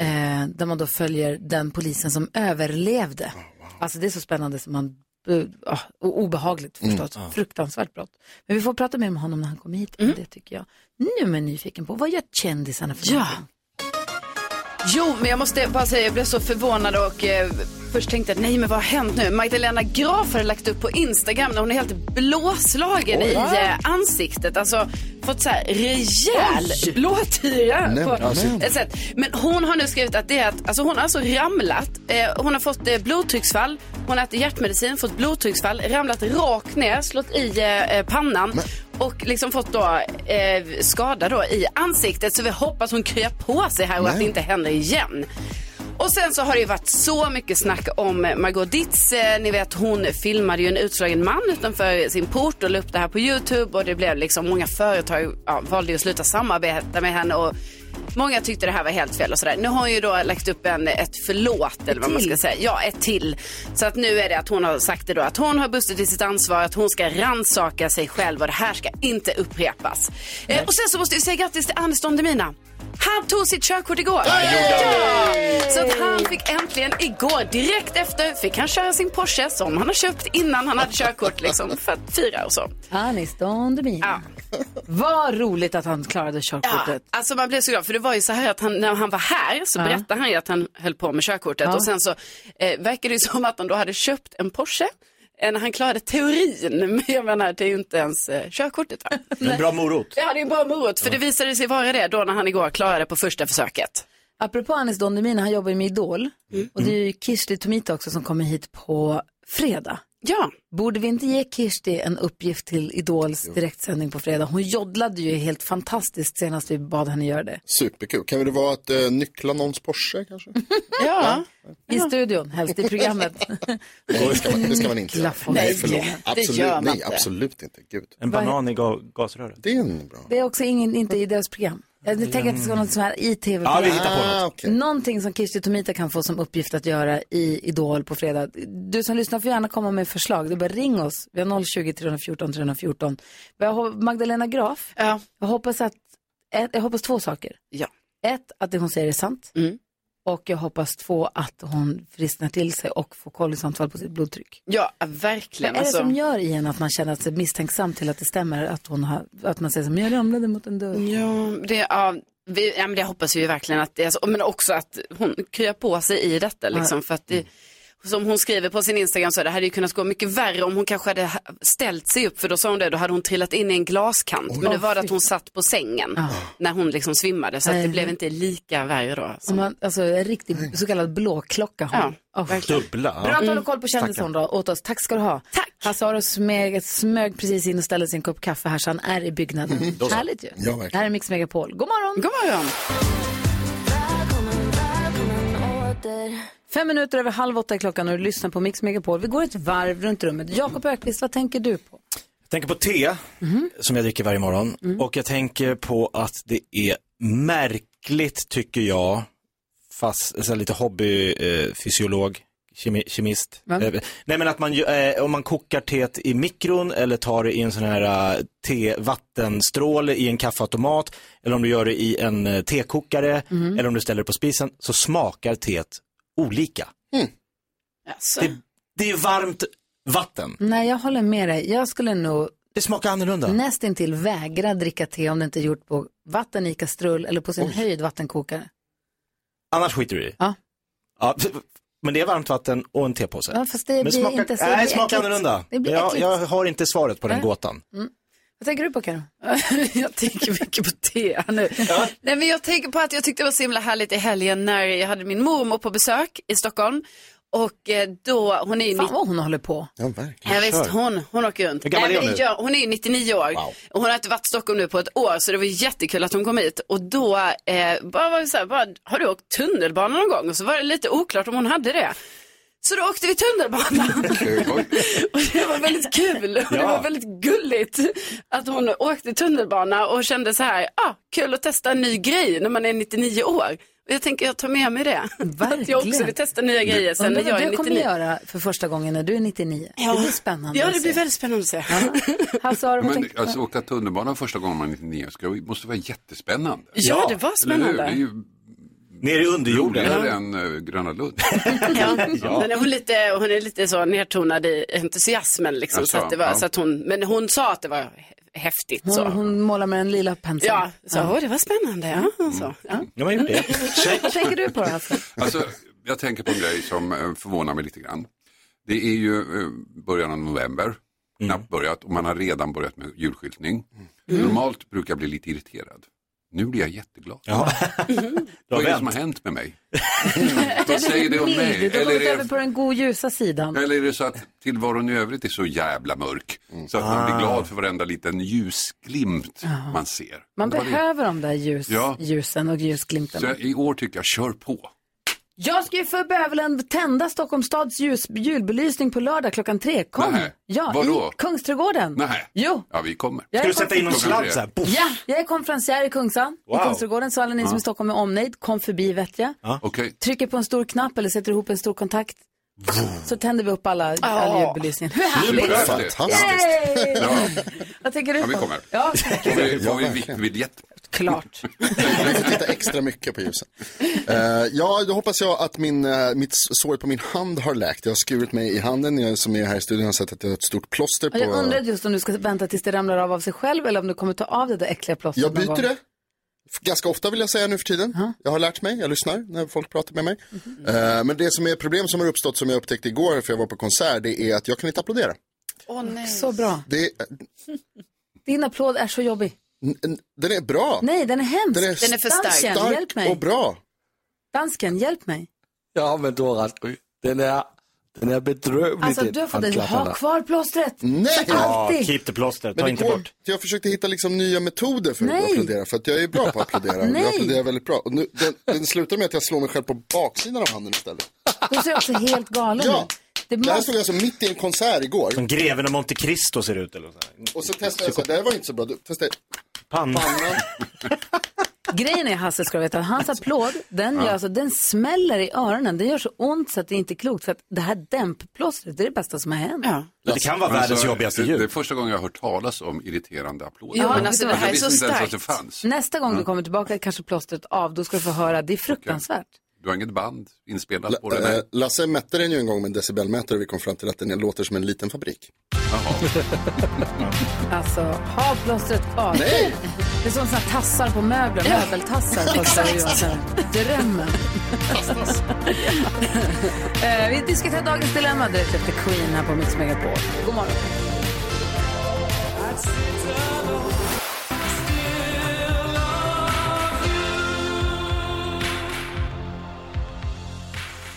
[SPEAKER 1] Eh, där man då följer den polisen som
[SPEAKER 5] Ah,
[SPEAKER 1] överlevde. Alltså det är så spännande som man, eh, ah, och obehagligt förstås.
[SPEAKER 5] Mm. Ja.
[SPEAKER 1] Fruktansvärt brott. Men vi får prata mer med honom när han kommer hit. om Det tycker jag. Nu är jag nyfiken på, vad gör kändisarna för ja.
[SPEAKER 4] Jo, men jag måste bara säga, jag blev så förvånad och eh, först tänkte jag, nej men vad har hänt nu? Magdalena Graaf har lagt upp på Instagram när hon är helt blåslagen
[SPEAKER 5] Oj.
[SPEAKER 4] i eh, ansiktet. Alltså fått så här rejäl
[SPEAKER 5] Oj.
[SPEAKER 4] blåtira.
[SPEAKER 5] Nej,
[SPEAKER 4] på
[SPEAKER 5] alltså.
[SPEAKER 4] ett sätt. Men hon har nu skrivit att det är att, alltså hon har alltså ramlat, eh, hon har fått eh, blodtrycksfall, hon har ätit hjärtmedicin, fått blodtrycksfall, ramlat rakt ner, slått i eh, eh, pannan. Och liksom fått då eh, skada då i ansiktet så vi hoppas hon kryar på sig här och att
[SPEAKER 12] Nej.
[SPEAKER 4] det inte händer igen. Och sen så har det ju varit så mycket snack om Margot Ditz. Eh, Ni vet hon filmade ju en utslagen man utanför sin port och la upp det här på Youtube och det blev liksom många företag ja, valde ju att sluta samarbeta med henne och många tyckte det här var helt fel och sådär. Nu har hon ju då lagt upp en, ett förlåt eller vad man ska
[SPEAKER 12] till.
[SPEAKER 4] säga. Ja, ett till. Så att nu är det att hon har sagt det då att hon har brustit i sitt ansvar, att hon ska ransaka sig själv och det här ska inte upprepas. Eh, och sen så måste vi säga grattis till Anis Don Demina. Han tog sitt körkort igår. Ja! Så att han fick äntligen igår, direkt efter, fick han köra sin Porsche som han har köpt innan han hade körkort liksom, för att fira och så.
[SPEAKER 1] Anis Don Demina. Vad roligt att han klarade körkortet.
[SPEAKER 4] Ja, alltså man blev så glad, för det var ju så här att han, när han var här så
[SPEAKER 1] Ja.
[SPEAKER 4] berättade han ju att han höll på med körkortet
[SPEAKER 1] Ja.
[SPEAKER 4] och sen så eh, verkar det ju som att han då hade köpt en Porsche eh, när han klarade teorin, men jag menar det är ju inte ens eh, körkortet. va?
[SPEAKER 3] En bra morot.
[SPEAKER 4] Ja, det är en bra morot, för det visade sig vara det då när han igår klarade på första försöket.
[SPEAKER 1] Apropå Anis Don Demina, han jobbar ju med Idol.
[SPEAKER 4] Mm.
[SPEAKER 1] Och det är ju Kirsti Tomita också som kommer hit på fredag.
[SPEAKER 4] Ja.
[SPEAKER 1] Borde vi inte ge Kirsti en uppgift till Idols direktsändning på fredag? Hon joddlade ju helt fantastiskt senast vi bad henne göra det.
[SPEAKER 6] Superkul. Kan det vara att eh, nyckla någons Porsche kanske?
[SPEAKER 4] Ja.
[SPEAKER 1] I studion, helst i programmet.
[SPEAKER 6] Nej, det ska man, det ska man inte göra.
[SPEAKER 1] Nyckla folk.
[SPEAKER 6] Nej, förlåt.
[SPEAKER 1] Nej, det
[SPEAKER 6] Absolut,
[SPEAKER 1] gör man
[SPEAKER 6] nej,
[SPEAKER 1] inte.
[SPEAKER 6] absolut inte. Gud.
[SPEAKER 3] En
[SPEAKER 1] Vad-
[SPEAKER 3] banan i ga- gasröret.
[SPEAKER 6] Det är en bra.
[SPEAKER 1] Det är också ingen, inte i deras program. Jag tänker att det ska vara något sånt här i tv
[SPEAKER 3] Ja, vi hittar på något. Ah, okej.
[SPEAKER 1] Någonting som Kirsti Tomita kan få som uppgift att göra i Idol på fredag. Du som lyssnar får gärna komma med förslag. Du bara ring oss. Vi har 020 314 314. Vi har Magdalena Graf.
[SPEAKER 4] Ja.
[SPEAKER 1] Jag, hoppas att, ett, jag hoppas två saker.
[SPEAKER 4] Ja. Mm.
[SPEAKER 1] Ett, att det hon säger är sant. Och jag hoppas två, att hon frisknar till sig och får koll i sånt fall på sitt blodtryck.
[SPEAKER 4] Ja, verkligen. alltså.
[SPEAKER 1] Vad är det som gör i en att man känner sig misstänksam till att det stämmer att, hon har, att man säger som jag ramlade mot en dörr?
[SPEAKER 4] Ja, det, ja, vi, ja, men det hoppas vi ju verkligen att det är så. Men också att hon kryar på sig i detta. Liksom,
[SPEAKER 1] Ja.
[SPEAKER 4] för att det, som hon skriver på sin Instagram så det hade ju kunnat gå mycket värre om hon kanske hade ha- ställt sig upp. För då sa hon det, då hade hon trillat in i en glaskant. Men nu var det att hon satt på sängen när hon liksom svimmade. Så att det
[SPEAKER 1] Nej.
[SPEAKER 4] blev inte lika värre då.
[SPEAKER 1] Som man, alltså en riktig så kallad blåklocka har. Ja,
[SPEAKER 3] Dubbla.
[SPEAKER 1] Bra att du håller koll på
[SPEAKER 4] Mm.
[SPEAKER 1] kändisen då åt oss. Tack ska du ha. Tack. Hasse Aro smög, smög precis in och ställde sin kopp kaffe här så han är i byggnaden.
[SPEAKER 5] Mm, då så.
[SPEAKER 1] Härligt ju.
[SPEAKER 5] Ja, verkligen.
[SPEAKER 1] det här är Mix Megapol. God morgon.
[SPEAKER 4] God morgon.
[SPEAKER 1] Fem minuter över halv åtta är klockan och du lyssnar på Mix Megapol. Vi går ett varv runt rummet. Jakob Ökvist, vad tänker du på?
[SPEAKER 3] Jag tänker på te, som jag dricker varje morgon. Och jag tänker på att det är märkligt, tycker jag, fast alltså, lite hobbyfysiolog, eh, fysiolog, kemi, kemist.
[SPEAKER 5] Va?
[SPEAKER 3] Eh, nej men att man, ju- eh, om man kokar teet i mikron eller tar det i en sån här eh, tevattenstråle i en kaffeautomat, eller om du gör det i en eh, tekokare,
[SPEAKER 5] Mm.
[SPEAKER 3] eller om du ställer det på spisen, så smakar teet olika.
[SPEAKER 5] Mm.
[SPEAKER 1] Alltså.
[SPEAKER 3] Det, det är varmt vatten.
[SPEAKER 1] Nej, jag håller med dig. Jag skulle nog
[SPEAKER 3] Det smakar annorlunda.
[SPEAKER 1] nästintill vägra dricka te om det inte är gjort på vatten i kastrull eller på sin
[SPEAKER 3] Oj.
[SPEAKER 1] höjd vattenkokare.
[SPEAKER 3] Annars skiter du i.
[SPEAKER 1] Ja.
[SPEAKER 3] ja. Men det är varmt vatten och en tepåse.
[SPEAKER 1] Ja, fast det
[SPEAKER 3] men
[SPEAKER 1] blir
[SPEAKER 3] smakar,
[SPEAKER 1] inte så- det
[SPEAKER 3] Nej,
[SPEAKER 1] blir
[SPEAKER 3] smakar
[SPEAKER 1] äckligt.
[SPEAKER 3] annorlunda.
[SPEAKER 1] Det blir
[SPEAKER 3] jag,
[SPEAKER 1] äckligt.
[SPEAKER 3] jag har inte svaret på den
[SPEAKER 1] Nej.
[SPEAKER 3] gåtan.
[SPEAKER 1] Vad tänker du på Karin?
[SPEAKER 4] jag tänker mycket på te nu. Nej, men jag tänker på att jag tyckte det var så himla härligt i helgen när jag hade min mormor på besök i Stockholm. Och eh, då, hon är ju...
[SPEAKER 1] Fan vad hon håller på.
[SPEAKER 6] Ja, verkligen.
[SPEAKER 4] Ja, visst, hon, hon åker runt.
[SPEAKER 1] Hur gammal
[SPEAKER 4] Nej,
[SPEAKER 1] är hon
[SPEAKER 4] men
[SPEAKER 1] nu?
[SPEAKER 4] ja, hon är ju 99 år. Och hon har inte varit i Stockholm nu på ett år, så det var jättekul att hon kom hit. Och då eh, bara var vi så här, bara, har du åkt tunnelbana någon gång? Och så var det lite oklart om hon hade det. Så då åkte vi tunnelbana. och det var väldigt kul och det
[SPEAKER 5] Ja.
[SPEAKER 4] var väldigt gulligt att hon åkte tunnelbana och kände så här, ah, kul att testa en ny grej när man är 99 år. Och jag tänker jag tar med mig det. Att jag också vill testa nya
[SPEAKER 3] Mm.
[SPEAKER 4] grejer sen
[SPEAKER 1] Undrar
[SPEAKER 4] när
[SPEAKER 1] vad
[SPEAKER 4] jag är
[SPEAKER 1] du kommer
[SPEAKER 4] 99.
[SPEAKER 1] göra för första gången när du är 99.
[SPEAKER 4] Ja.
[SPEAKER 1] Det blir spännande
[SPEAKER 4] Ja,
[SPEAKER 1] att
[SPEAKER 4] det
[SPEAKER 1] se.
[SPEAKER 4] blir väldigt spännande att se.
[SPEAKER 1] Hasse, har du vad
[SPEAKER 12] Men
[SPEAKER 1] tänker du på?
[SPEAKER 12] alltså, åka tunnelbana första gången man är 99 ska, måste vara jättespännande.
[SPEAKER 4] Ja, det var spännande.
[SPEAKER 12] Eller hur? Det är ju
[SPEAKER 3] Nere i underjorden.
[SPEAKER 12] Roligare än eh, Gröna Lund.
[SPEAKER 4] Ja. Men hon, är lite, hon är lite så nedtonad i entusiasmen. Liksom,
[SPEAKER 12] Alltså,
[SPEAKER 4] så att det var,
[SPEAKER 12] ja.
[SPEAKER 4] så att hon, men hon sa att det var hä- häftigt. så.
[SPEAKER 1] Hon, hon målar med en lila pensel. Mm.
[SPEAKER 4] Ja, så, "Åh, det var spännande. Ja, och så. Ja.
[SPEAKER 3] Ja, man gjorde det.
[SPEAKER 1] Vad tänker du på då, Hasse?
[SPEAKER 12] Alltså, jag tänker på en grej som eh, förvånar mig lite grann. Det är ju eh, början av
[SPEAKER 3] Mm.
[SPEAKER 12] november, knappt börjat, och man har redan börjat med julskyltning. Normalt brukar jag bli lite irriterad. Nu blir jag jätteglad. Vad är det som har hänt med mig? Vad säger det om mig?
[SPEAKER 1] Du har
[SPEAKER 12] Eller
[SPEAKER 1] gått
[SPEAKER 12] är,
[SPEAKER 1] över på den god ljusa sidan.
[SPEAKER 12] eller är det så att tillvaron i övrigt är så jävla mörk så att man blir
[SPEAKER 1] Ah.
[SPEAKER 12] glad för varenda liten ljusglimt
[SPEAKER 1] Ja.
[SPEAKER 12] man ser?
[SPEAKER 1] Man
[SPEAKER 12] Det var det.
[SPEAKER 1] behöver de där ljus,
[SPEAKER 12] Ja.
[SPEAKER 1] ljusen och
[SPEAKER 12] Så
[SPEAKER 1] ljusglimtarna.
[SPEAKER 12] jag, i år tycker jag, kör på.
[SPEAKER 1] Jag ska ju för bövelen tända Stockholms stads ljus, julbelysning på lördag klockan tre. Kom!
[SPEAKER 12] Nähä.
[SPEAKER 1] Ja,
[SPEAKER 12] Var då?
[SPEAKER 1] i Kungsträdgården.
[SPEAKER 12] Nej.
[SPEAKER 1] Jo.
[SPEAKER 12] Ja, vi kommer.
[SPEAKER 1] Jag Ska du är sätta in någon
[SPEAKER 12] Klockan
[SPEAKER 3] sladd
[SPEAKER 12] tre.
[SPEAKER 3] så här?
[SPEAKER 1] Ja, jag är konferencier i Kungsan,
[SPEAKER 12] Wow.
[SPEAKER 1] i Kungsträdgården, så alla ni som är i
[SPEAKER 12] Ja.
[SPEAKER 1] Stockholm med omnejd, kom förbi vet jag.
[SPEAKER 12] Okej.
[SPEAKER 1] Trycker på en stor knapp eller sätter ihop en stor kontakt. Så tänder vi upp alla, all julbelysning. Hur härligt!
[SPEAKER 12] Superhäftigt.
[SPEAKER 1] Yay!
[SPEAKER 12] Ja.
[SPEAKER 1] Vad tänker du
[SPEAKER 12] Ja,
[SPEAKER 1] på?
[SPEAKER 12] vi kommer.
[SPEAKER 1] Ja.
[SPEAKER 12] Får vi, får vi VIP-biljett?
[SPEAKER 1] Klart.
[SPEAKER 6] Jag får titta extra mycket på ljusen. Eh, ja, då hoppas jag att min, eh, mitt sår på min hand har läkt. Jag har skurit mig i handen. Jag som är här i studion har sett att jag har ett stort plåster på...
[SPEAKER 1] Ja, Alltså, Jag undrade just om du ska vänta tills det ramlar av av sig själv eller om du kommer ta av det där äckliga plåstret
[SPEAKER 6] Jag
[SPEAKER 1] någon gång.
[SPEAKER 6] byter det. Ganska ofta vill jag säga nu för tiden. Jag har lärt mig, jag lyssnar när folk pratar med mig. Eh, men det som är problem som har uppstått som jag upptäckte igår för jag var på konsert, det är att jag kan inte applådera.
[SPEAKER 1] Åh nej. Så bra.
[SPEAKER 6] Det,
[SPEAKER 1] Din applåd är så jobbig.
[SPEAKER 6] n- n- den är bra.
[SPEAKER 1] Nej, den är hemsk. Dansken,
[SPEAKER 6] Stark
[SPEAKER 1] hjälp mig.
[SPEAKER 6] och bra.
[SPEAKER 1] Dansken, hjälp mig.
[SPEAKER 7] Ja, men du har rätt Gry. Den är, den är bedrövlig.
[SPEAKER 1] Alltså,
[SPEAKER 7] den
[SPEAKER 1] du har fått
[SPEAKER 7] handklappen
[SPEAKER 1] ha
[SPEAKER 7] där.
[SPEAKER 1] kvar plåstret.
[SPEAKER 6] Nej!
[SPEAKER 1] För alltid.
[SPEAKER 3] the plåster,
[SPEAKER 1] ta inte bort.
[SPEAKER 6] Jag försökte hitta liksom nya metoder för
[SPEAKER 1] Nej.
[SPEAKER 6] att applådera, för att jag är bra på att applådera.
[SPEAKER 1] Nej.
[SPEAKER 6] jag applåderar väldigt bra. Och nu, den, den slutar med att jag slår mig själv på baksidan av handen istället.
[SPEAKER 1] Du ser också helt galen
[SPEAKER 6] Ja.
[SPEAKER 1] ut. Det
[SPEAKER 6] Det här
[SPEAKER 1] måste...
[SPEAKER 6] stod alltså mitt i en konsert igår.
[SPEAKER 3] Som greven av Monte Cristo ser ut eller så. här.
[SPEAKER 6] Och så testade jag så här, det här var inte så bra. Då testade
[SPEAKER 3] Pannan.
[SPEAKER 1] Grejen är, Hasse, ska du veta, att hans applåd, den, gör,
[SPEAKER 6] Ja.
[SPEAKER 1] alltså, den smäller i öronen. Den gör så ont så att det inte är klokt. För att det här dämpplåstret, det är det bästa som har hänt.
[SPEAKER 12] Men så- det, det är första gången jag har hört talas om irriterande applåder.
[SPEAKER 1] Ja, men alltså, det här
[SPEAKER 12] jag
[SPEAKER 1] är
[SPEAKER 12] visste
[SPEAKER 1] så
[SPEAKER 12] inte ens att det
[SPEAKER 1] starkt.
[SPEAKER 12] fanns.
[SPEAKER 1] Nästa gång du
[SPEAKER 12] Ja.
[SPEAKER 1] kommer tillbaka är kanske plåstret av. Då ska du få höra, det är fruktansvärt.
[SPEAKER 12] Du har inget band inspelat på
[SPEAKER 6] jag,
[SPEAKER 12] det? Nej.
[SPEAKER 6] eh, Lasse mätte den ju en gång med en decibelmätare och vi kom fram till att den låter som en liten fabrik.
[SPEAKER 1] Alltså, ha plåstret kvar.
[SPEAKER 6] Nej!
[SPEAKER 1] Det är som såna här tassar på möbler,
[SPEAKER 5] Ja.
[SPEAKER 1] möbeltassar kostar det ju
[SPEAKER 5] Exakt.
[SPEAKER 1] att säga. Drömmen. Eh, Vi diskuterar dagens dilemma direkt efter Queen här på Mix Megapol. God morgon.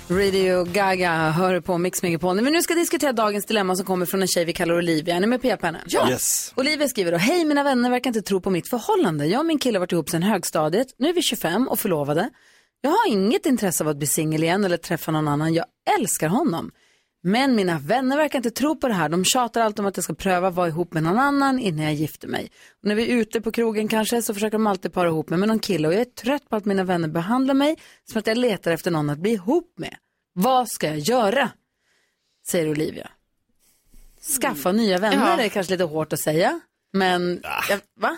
[SPEAKER 1] Radio Gaga hör på Mix Megapol. Men nu ska vi diskutera dagens dilemma som kommer från en tjej vi kallar Olivia. Är ni med på hjälp henne?
[SPEAKER 5] Ja. Yes.
[SPEAKER 1] Olivia skriver då, hej mina vänner verkar inte tro på mitt förhållande. Jag och min kille har varit ihop sedan högstadiet. Nu är vi 25 och förlovade. Jag har inget intresse av att bli singel igen eller träffa någon annan. Jag älskar honom. Men mina vänner verkar inte tro på det här. De tjatar allt om att jag ska pröva vara ihop med någon annan innan jag gifter mig. Och när vi är ute på krogen kanske så försöker de alltid para ihop mig med någon kille och jag är trött på att mina vänner behandlar mig som att jag letar efter någon att bli ihop med. Vad ska jag göra? Säger Olivia. Skaffa nya vänner
[SPEAKER 4] Ja.
[SPEAKER 1] det är kanske lite hårt att säga. Men, jag, va?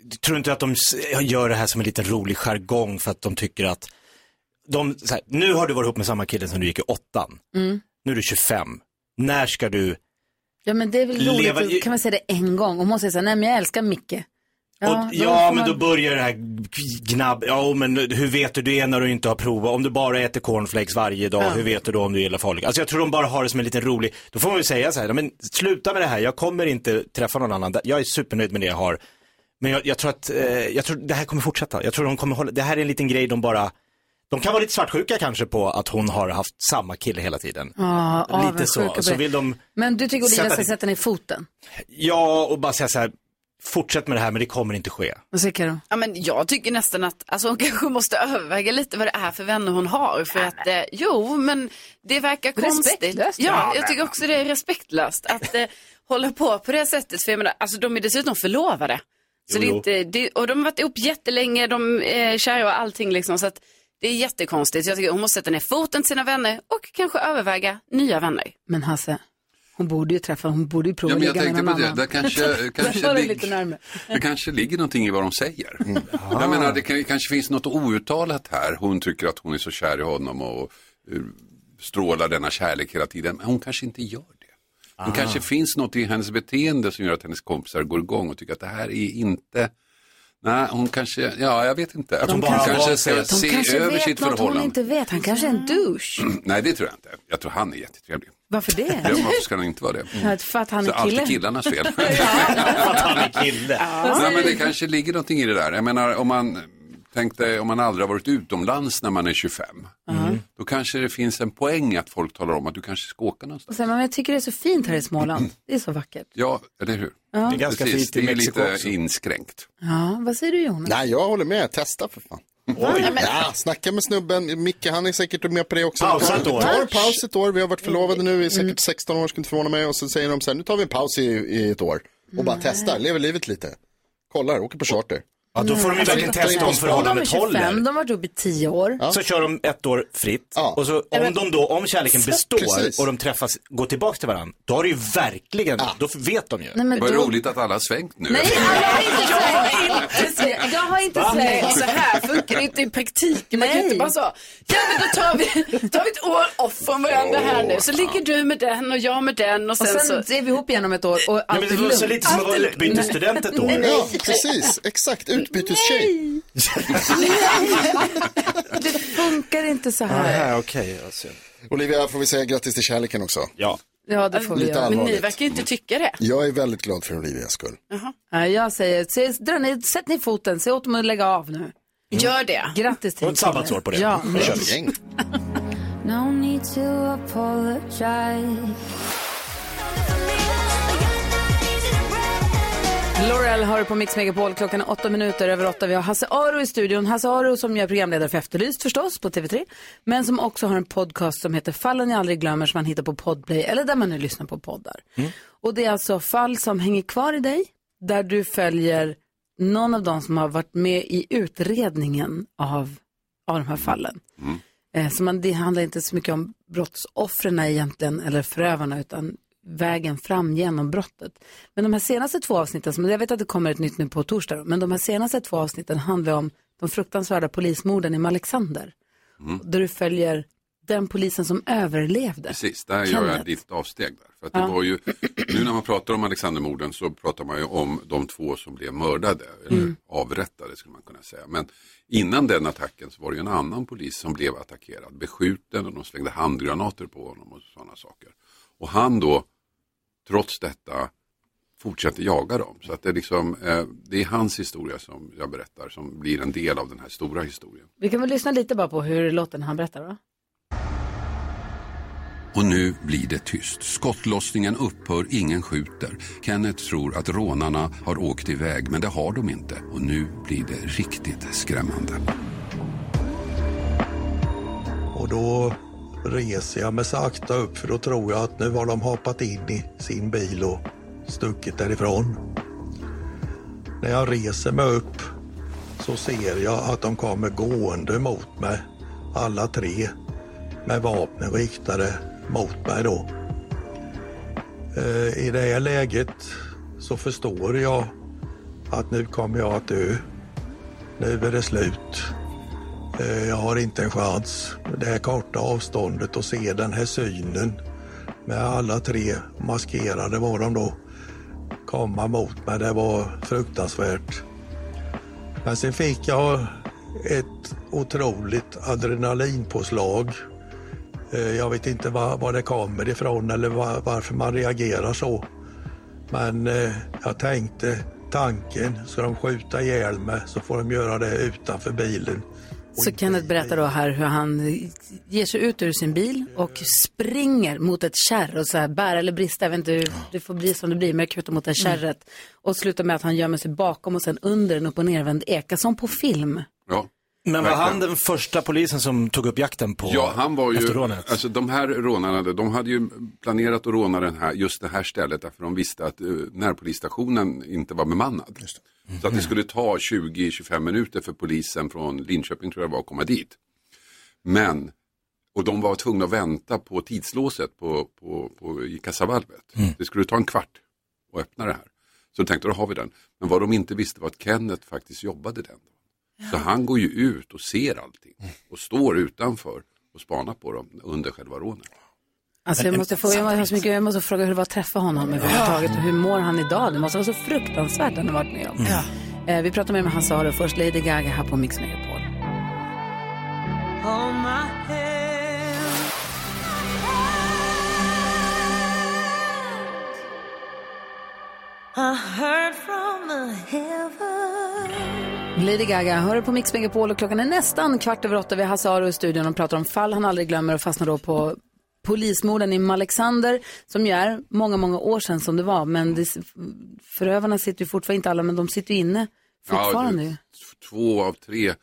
[SPEAKER 3] Du tror inte att de s- gör det här som en liten rolig jargong för att de tycker att de, så här, nu har du varit ihop med samma kille som du gick i åttan.
[SPEAKER 1] Mm.
[SPEAKER 3] Nu är du 25. När ska du
[SPEAKER 1] Ja men det är väl roligt,
[SPEAKER 3] Leva i-
[SPEAKER 1] att- kan man säga det en gång? Om hon säger så här, nej men jag älskar Micke.
[SPEAKER 3] Ja,
[SPEAKER 1] då får
[SPEAKER 3] ja men
[SPEAKER 1] man-
[SPEAKER 3] då börjar det här gnabb. Ja, men hur vet du det när du inte har provat? Om du bara äter cornflakes varje dag,
[SPEAKER 1] Ja.
[SPEAKER 3] hur vet du då om du gillar farliga? Alltså jag tror de bara har det som en liten rolig, då får man ju säga så här, men sluta med det här, jag kommer inte träffa någon annan. Jag är supernöjd med det jag har. Men jag, jag tror att, eh, jag tror det här kommer fortsätta. Jag tror de kommer hålla, det här är en liten grej de bara, De kan vara lite svartsjuka kanske på att hon har haft samma kille hela tiden.
[SPEAKER 1] Ja,
[SPEAKER 3] lite
[SPEAKER 1] avundsjuka på
[SPEAKER 3] så. Så
[SPEAKER 1] det.
[SPEAKER 3] vill de,
[SPEAKER 1] Men du tycker Olivia
[SPEAKER 3] Sätta
[SPEAKER 1] ska
[SPEAKER 3] dit-
[SPEAKER 1] sätta ner foten?
[SPEAKER 3] ja, och bara säga så här, fortsätt med det här men det kommer inte ske.
[SPEAKER 1] Vad säger Karo?
[SPEAKER 4] Ja, men jag tycker nästan att alltså, hon kanske måste överväga lite vad det är för vänner hon har. För att, eh, jo, men det verkar konstigt.
[SPEAKER 1] Respektlöst,
[SPEAKER 4] Ja,
[SPEAKER 1] ja.
[SPEAKER 4] jag tycker också det är respektlöst att eh, hålla på på det sättet. För jag menar, alltså, de är dessutom förlovade. Så
[SPEAKER 1] Jo,
[SPEAKER 4] det är
[SPEAKER 1] jo.
[SPEAKER 4] inte, det, och de har varit ihop jättelänge, de eh, är kära och allting liksom. Så att det är jättekonstigt. Jag tycker hon måste sätta ner foten till sina vänner och kanske överväga nya vänner.
[SPEAKER 1] Men Hasse, hon borde ju träffa, hon borde ju prova
[SPEAKER 12] Ja, men
[SPEAKER 1] att
[SPEAKER 12] jag
[SPEAKER 1] ligga med
[SPEAKER 12] tänkte på det.
[SPEAKER 1] någon annan.
[SPEAKER 12] Där kanske, kanske,
[SPEAKER 1] var det
[SPEAKER 12] lig-
[SPEAKER 1] lite närmare.
[SPEAKER 12] det kanske ligger någonting i vad de säger. Jag menar, det kan, kanske finns något outtalat här. Hon tycker att hon är så kär i honom och eh, strålar denna kärlek hela tiden. Men hon kanske inte gör det. Det
[SPEAKER 13] Ah.
[SPEAKER 12] kanske finns något i hennes beteende som gör att hennes kompisar går igång och tycker att det här är inte Nej, hon kanske, ja jag vet inte.
[SPEAKER 1] De
[SPEAKER 12] hon
[SPEAKER 1] kanske-
[SPEAKER 12] kanske
[SPEAKER 1] de
[SPEAKER 12] ska se
[SPEAKER 1] kanske
[SPEAKER 12] över
[SPEAKER 1] vet
[SPEAKER 12] sitt
[SPEAKER 1] något hon
[SPEAKER 12] förhållande.
[SPEAKER 1] inte vet. Han kanske är en douche.
[SPEAKER 12] Nej, det tror jag inte. Jag tror han är jättetrevlig.
[SPEAKER 1] Varför det?
[SPEAKER 12] Ja, varför ska han inte vara det?
[SPEAKER 1] Ja, För att han
[SPEAKER 12] Så
[SPEAKER 1] är kille.
[SPEAKER 12] alltid killarnas fel.
[SPEAKER 3] Kille.
[SPEAKER 12] Nej, men det kanske ligger någonting i det där. Jag menar, om man tänkte, om man aldrig har varit utomlands när man är 25,
[SPEAKER 1] Mm.
[SPEAKER 12] då kanske det finns en poäng att folk talar om att du kanske ska åka någonstans.
[SPEAKER 1] Och sen, men jag tycker det är så fint här i Småland. Det är så vackert.
[SPEAKER 12] Ja, eller hur?
[SPEAKER 1] Ja. Det är ganska
[SPEAKER 12] Precis,
[SPEAKER 1] fint i
[SPEAKER 12] det är ju
[SPEAKER 1] Mexiko
[SPEAKER 12] lite
[SPEAKER 1] också.
[SPEAKER 12] inskränkt.
[SPEAKER 1] Ja, vad säger du Jonas?
[SPEAKER 6] Nej, jag håller med. Testa för fan.
[SPEAKER 1] Oj.
[SPEAKER 6] Ja, snacka med snubben. Micke, han är säkert med på det också.
[SPEAKER 3] Pausa ett år.
[SPEAKER 6] Vi tar en paus ett år. Vi har varit förlovade nu i
[SPEAKER 1] Mm.
[SPEAKER 6] säkert 16 år, skulle inte förvåna mig. Och så säger de så här, nu tar vi en paus i, i ett år. Och bara
[SPEAKER 1] Nej.
[SPEAKER 6] testar, lever livet lite. Kollar, åker på charter.
[SPEAKER 3] Ja, då får de ju
[SPEAKER 1] Mm.
[SPEAKER 6] Alltså,
[SPEAKER 3] verkligen
[SPEAKER 6] inte-
[SPEAKER 3] testa
[SPEAKER 6] inte-
[SPEAKER 3] om
[SPEAKER 1] De är
[SPEAKER 3] förhållandet
[SPEAKER 1] 25,
[SPEAKER 3] håller.
[SPEAKER 1] de har varit ihop i 10 år.
[SPEAKER 3] Så kör de ett år fritt och så
[SPEAKER 1] Ja,
[SPEAKER 3] om
[SPEAKER 1] men-
[SPEAKER 3] de då, om kärleken
[SPEAKER 1] Så-
[SPEAKER 3] består
[SPEAKER 1] Precis.
[SPEAKER 3] och de träffas, går tillbaka till varandra, då har det ju verkligen, då vet de ju.
[SPEAKER 1] Nej, men Vad då-
[SPEAKER 12] roligt att alla har svängt nu.
[SPEAKER 1] Nej, alla har inte svängt. Jag har inte
[SPEAKER 4] Nej,
[SPEAKER 1] svängt.
[SPEAKER 4] så här funkar det inte i praktiken. Man kan inte bara så, ja men då tar vi, tar vi ett år off från varandra här nu. Så ligger du med den och jag med den och
[SPEAKER 1] Och
[SPEAKER 4] sen,
[SPEAKER 1] sen,
[SPEAKER 4] så.
[SPEAKER 1] är vi ihop igen om ett år och allt
[SPEAKER 3] men det
[SPEAKER 1] är
[SPEAKER 3] var så
[SPEAKER 1] lugnt.
[SPEAKER 3] lite som att vara
[SPEAKER 1] Allt är-
[SPEAKER 3] utbytesstudent ett år.
[SPEAKER 1] Nej.
[SPEAKER 6] Ja, precis. Exakt, utbytestjej.
[SPEAKER 1] Det funkar inte så här.
[SPEAKER 3] Nej, Ah, okej. Alltså.
[SPEAKER 6] Olivia, får vi säga grattis till kärleken också?
[SPEAKER 3] Ja.
[SPEAKER 1] Ja, det får vi
[SPEAKER 6] Lite
[SPEAKER 1] göra.
[SPEAKER 6] allvarligt.
[SPEAKER 4] verkar ju inte tycka det.
[SPEAKER 6] Jag är väldigt glad för Olivias skull.
[SPEAKER 1] Nej, jag säger, se, dra ner, sätt ner foten, se åt dem att lägga av nu.
[SPEAKER 4] Gör det.
[SPEAKER 1] Grattis till
[SPEAKER 3] Och ett
[SPEAKER 1] killen.
[SPEAKER 3] sabbatsår på det.
[SPEAKER 1] Ja.
[SPEAKER 3] Nu kör vi.
[SPEAKER 14] No need to apologize.
[SPEAKER 1] Laurel hör på Mix Megapol klockan är åtta minuter över åtta. Vi har Hasse Aro i studion. Hasse Aro som jag är programledare för Efterlyst förstås på TV3. Men som också har en podcast som heter Fallen jag aldrig glömmer som man hittar på Podplay eller där man nu lyssnar på poddar. Och det är alltså fall som hänger kvar i dig där du följer någon av de som har varit med i utredningen av, av de här fallen. Eh, Så man, det handlar inte så mycket om brottsoffren egentligen, eller förövarna, utan vägen fram genom brottet. Men de här senaste två avsnitten, som jag vet att det kommer ett nytt nu på torsdag, men de här senaste två avsnitten handlar om de fruktansvärda polismorden i Malexander. Där du följer den polisen som överlevde.
[SPEAKER 12] Precis, där gör
[SPEAKER 1] Kenneth.
[SPEAKER 12] jag ditt avsteg. Där. För att det
[SPEAKER 1] Ja.
[SPEAKER 12] var ju, nu när man pratar om Alexandermorden så pratar man ju om de två som blev mördade, eller
[SPEAKER 13] Mm.
[SPEAKER 12] avrättade skulle man kunna säga. Men innan den attacken så var det ju en annan polis som blev attackerad, beskjuten och de slängde handgranater på honom och sådana saker. Och han då, trots detta, fortsätter jaga dem. Så att det, är liksom, eh, det är hans historia som jag berättar som blir en del av den här stora historien.
[SPEAKER 1] Vi kan väl lyssna lite bara på hur det låter när han berättar va?
[SPEAKER 12] Och nu blir det tyst. Skottlossningen upphör, ingen skjuter. Kenneth tror att rånarna har åkt iväg, men det har de inte. Och nu blir det riktigt skrämmande.
[SPEAKER 15] Och då reser jag mig sakta upp för då tror jag att nu har de hoppat in i sin bil och stuckit därifrån. När jag reser mig upp så ser jag att de kommer gående mot mig, alla tre, med vapnen riktade mot mig då. Eh, I det här läget så förstår jag att nu kommer jag att dö. Nu är det slut. Eh, Jag har inte en chans. Det här korta avståndet och se den här synen med alla tre maskerade var de då komma mot mig. Det var fruktansvärt. Men sen fick jag ett otroligt adrenalinpåslag. Eh, Jag vet inte var, var det kommer ifrån eller va- varför man reagerar så. Men eh, jag tänkte tanken, ska de skjuta ihjäl mig så får de göra det utanför bilen.
[SPEAKER 1] Så Kenneth berättar då här hur han ger sig ut ur sin bil och springer mot ett kärr och så här bär eller brista, jag vet inte hur det får bli som det blir, men kutar mot det här
[SPEAKER 8] Mm.
[SPEAKER 1] kärret. Och slutar med att han gömmer sig bakom och sen under en upp och nervänd eka, som på film.
[SPEAKER 12] Ja.
[SPEAKER 3] Men var han
[SPEAKER 12] Verkligen.
[SPEAKER 3] den första polisen som tog upp jakten på
[SPEAKER 12] Ja, han var
[SPEAKER 3] efter
[SPEAKER 12] ju,
[SPEAKER 3] rånet?
[SPEAKER 12] alltså de här rånarna, de hade ju planerat att råna den här, just det här stället därför de visste att eh, närpolisstationen inte var bemannad. Så att det skulle ta 20-25 minuter för polisen från Linköping tror jag det var att komma dit. Men, och de var tvungna att vänta på tidslåset på, på, på, i kassavalvet. Det skulle ta en kvart att öppna det här. Så de tänkte, då har vi den. Men vad de inte visste var att Kenneth faktiskt jobbade den. Så han går ju ut och ser allting och står utanför och spanar på dem under själva rånet.
[SPEAKER 1] Alltså jag måste, få, jag, måste, så mycket, jag måste fråga hur det var att träffa honom överhuvudtaget och hur mår han idag? Det måste vara så fruktansvärt han har varit med om. Eh, vi pratar mer med Hans Aro, först Lady Gaga här på Mix Megapol. Lady Gaga hör på Mix Megapol och klockan är nästan kvart över åtta. Vi har Hasse Aro i studion och pratar om fall han aldrig glömmer och fastnar då på polismorden i Malexander som ju är många, många år sedan som det var. Men det, förövarna sitter ju fortfarande, inte alla, men de sitter ju inne fortfarande.
[SPEAKER 12] Ja,
[SPEAKER 1] ju.
[SPEAKER 12] t- två av tre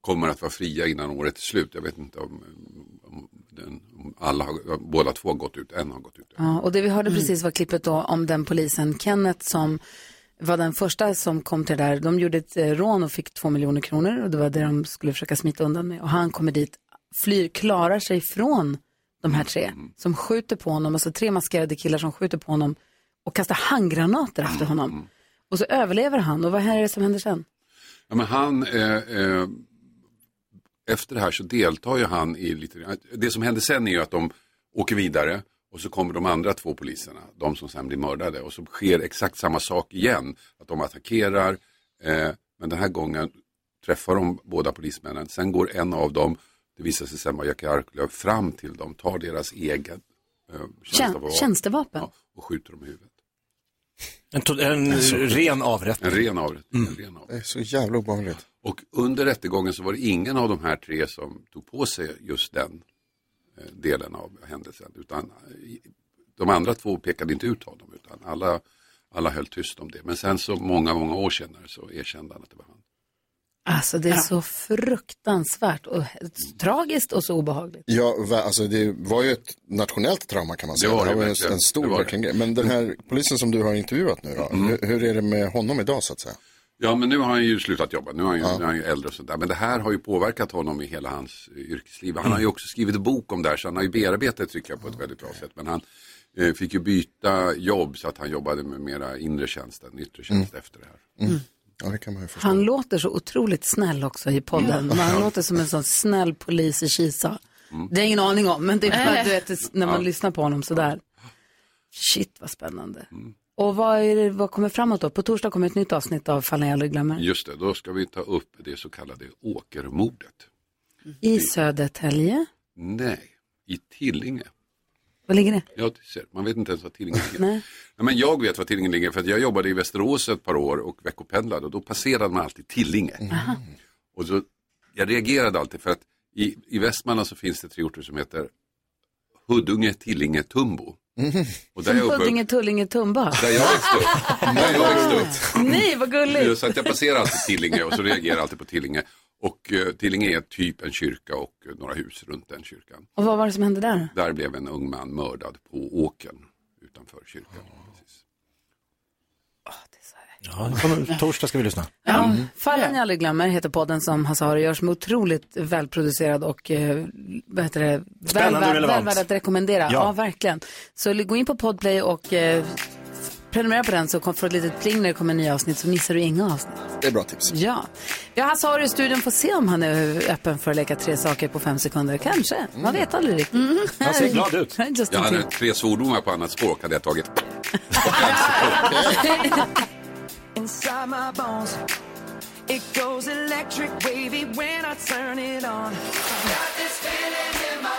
[SPEAKER 12] kommer att vara fria innan året är slut. Jag vet inte om, om, den, om alla har, om båda två har gått ut, en har gått ut.
[SPEAKER 1] Ja, och det vi hörde precis var klippet då om den polisen, Kenneth, som var den första som kom till det där. De gjorde ett eh, rån och fick två miljoner kronor och det var det de skulle försöka smita undan med. Och han kommer dit, flyr, klarar sig från de här tre som skjuter på honom, alltså tre maskerade killar som skjuter på honom och kastar handgranater efter honom. Och så överlever han och vad är det som händer sen?
[SPEAKER 12] Ja, men han, eh, eh, efter det här så deltar ju han i lite grann. Det som händer sen är ju att de åker vidare och så kommer de andra två poliserna, de som sen blir mördade. Och så sker exakt samma sak igen, att de attackerar. Eh, men den här gången träffar de båda polismännen. Sen går en av dem, det visar sig sen vara Jackie Arklöv, fram till dem, tar deras egen eh,
[SPEAKER 1] Tjän-
[SPEAKER 12] tjänstevapen
[SPEAKER 1] tjänstevapen.
[SPEAKER 12] och skjuter dem i huvudet. Alltså.
[SPEAKER 3] En, to- en ren avrättning.
[SPEAKER 12] En ren avrättning. En ren avrättning.
[SPEAKER 6] Det är så jävla obehagligt.
[SPEAKER 12] Och under rättegången så var det ingen av de här tre som tog på sig just den eh, delen av händelsen. Utan eh, de andra två pekade inte ut honom utan alla, alla höll tyst om det. Men sen så många, många år senare så erkände han att det var han.
[SPEAKER 1] Alltså det är så fruktansvärt och he- tragiskt och så obehagligt.
[SPEAKER 6] Ja, va- alltså det var ju ett nationellt trauma kan man säga.
[SPEAKER 12] Det var det
[SPEAKER 6] ju en,
[SPEAKER 12] verkligen.
[SPEAKER 6] en
[SPEAKER 12] Det
[SPEAKER 6] stor
[SPEAKER 12] var det. Mm.
[SPEAKER 6] verkligen grej. Men den här polisen som du har intervjuat nu då, hur, hur är det med honom idag så att säga?
[SPEAKER 12] Ja men nu har han ju slutat jobba, nu är han ju, nu är han ju äldre och sådär. Men det här har ju påverkat honom i hela hans eh, yrkesliv. Han har ju också skrivit en bok om det här så han har ju bearbetat tycker jag på ett väldigt bra sätt. Men han eh, fick ju byta jobb så att han jobbade med mera inre tjänst än yttre tjänst efter det här.
[SPEAKER 6] Mm. Ja, det kan man ju
[SPEAKER 1] Han låter så otroligt snäll också i podden.
[SPEAKER 12] Mm.
[SPEAKER 1] Han låter som en sån snäll polis i Kisa. Det har jag ingen aning om, men det är
[SPEAKER 12] Äh.
[SPEAKER 1] bara,
[SPEAKER 8] Nej.
[SPEAKER 1] du vet, när man
[SPEAKER 8] Ja.
[SPEAKER 1] lyssnar på honom sådär. Shit vad spännande.
[SPEAKER 12] Mm.
[SPEAKER 1] Och vad, är det, vad kommer framåt då? På torsdag kommer ett nytt avsnitt av Fallen jag aldrig glömmer.
[SPEAKER 12] Just det, då ska vi ta upp det så kallade åkermordet. Mm.
[SPEAKER 1] I Södertälje.
[SPEAKER 12] Nej, i Tillinge.
[SPEAKER 1] Var ligger det?
[SPEAKER 12] Ja, du ser, man vet inte ens vad Tillinge ligger.
[SPEAKER 1] Nej.
[SPEAKER 12] Nej, men jag vet var Tillinge ligger för att jag jobbade i Västerås ett par år och veckopendlade och då passerade man alltid Tillinge.
[SPEAKER 1] Mm.
[SPEAKER 12] Och så, jag reagerade alltid för att i, i Västmanland så finns det tre orter som heter Huddinge, Tillinge, Tumbo. Och där jag
[SPEAKER 1] Som
[SPEAKER 12] uppe,
[SPEAKER 1] Huddinge, Tullinge, Tumba.
[SPEAKER 12] där jag växte upp. Där jag växte upp.
[SPEAKER 1] Nej, vad gulligt.
[SPEAKER 12] Så att jag passerar alltid Tillinge och så reagerar jag alltid på Tillinge. Och eh, Tillinge är typ en kyrka och eh, några hus runt den kyrkan.
[SPEAKER 1] Och vad var det som hände där?
[SPEAKER 12] Där blev en ung man mördad på åkern utanför kyrkan.
[SPEAKER 3] Ja, det kommer, torsdag ska vi lyssna.
[SPEAKER 1] Ja, Fallen jag aldrig glömmer heter podden som Hasse Aro gör som är otroligt välproducerad och eh, vad heter det? Väl,
[SPEAKER 8] Spännande och
[SPEAKER 1] väl, väl
[SPEAKER 8] relevant.
[SPEAKER 1] värd att rekommendera. Ja.
[SPEAKER 8] Ja.
[SPEAKER 1] verkligen. Så gå in på Podplay och eh, prenumerera på den så kom- får du ett litet pling när det kommer nya avsnitt så missar du inga avsnitt.
[SPEAKER 6] Det är bra tips.
[SPEAKER 1] Ja, vi har Hasse Aro i studion, får se om han är öppen för att leka tre saker på fem sekunder. Kanske, man vet aldrig riktigt. Mm.
[SPEAKER 12] Han ser glad ut.
[SPEAKER 1] Just
[SPEAKER 12] Jag
[SPEAKER 1] in
[SPEAKER 12] hade
[SPEAKER 1] time.
[SPEAKER 12] tre svordomar på annat språk hade jag tagit.
[SPEAKER 5] Inside my bones, it goes electric wavy when I turn it on. Got this feeling in my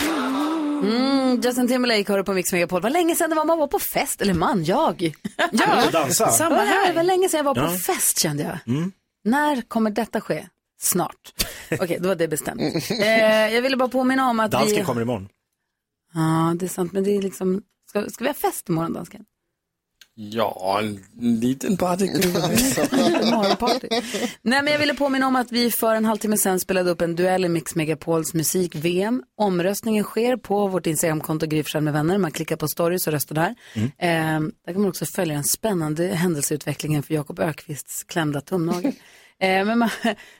[SPEAKER 5] body.
[SPEAKER 1] Mm, Justin Timberlake hör du på Mix Megapol. Vad länge sedan det var man var på fest, eller man, jag.
[SPEAKER 8] Ja,
[SPEAKER 1] Samma här. Det var länge sedan jag var på
[SPEAKER 8] Ja.
[SPEAKER 1] fest kände jag.
[SPEAKER 8] Mm.
[SPEAKER 1] När kommer detta ske? snart. Okej, då var det bestämt.
[SPEAKER 4] Mm.
[SPEAKER 1] Eh, jag ville bara påminna om att
[SPEAKER 3] Dansken
[SPEAKER 1] vi...
[SPEAKER 3] kommer imorgon.
[SPEAKER 1] Ja, det är sant, men det är liksom... Ska, ska vi ha fest imorgon, dansken?
[SPEAKER 7] Ja, en liten partyklubbe.
[SPEAKER 1] Morgonparty. Nej, men jag ville påminna om att vi för en halvtimme sen spelade upp en duell i Mix Megapols musik-VM. Omröstningen sker på vårt Instagramkonto Gry Forssell med vänner. Man klickar på stories och röstar där. Eh, där kan man också följa den spännande händelseutvecklingen för Jakob Ökvists klämda tumnagel. Eh, Men man,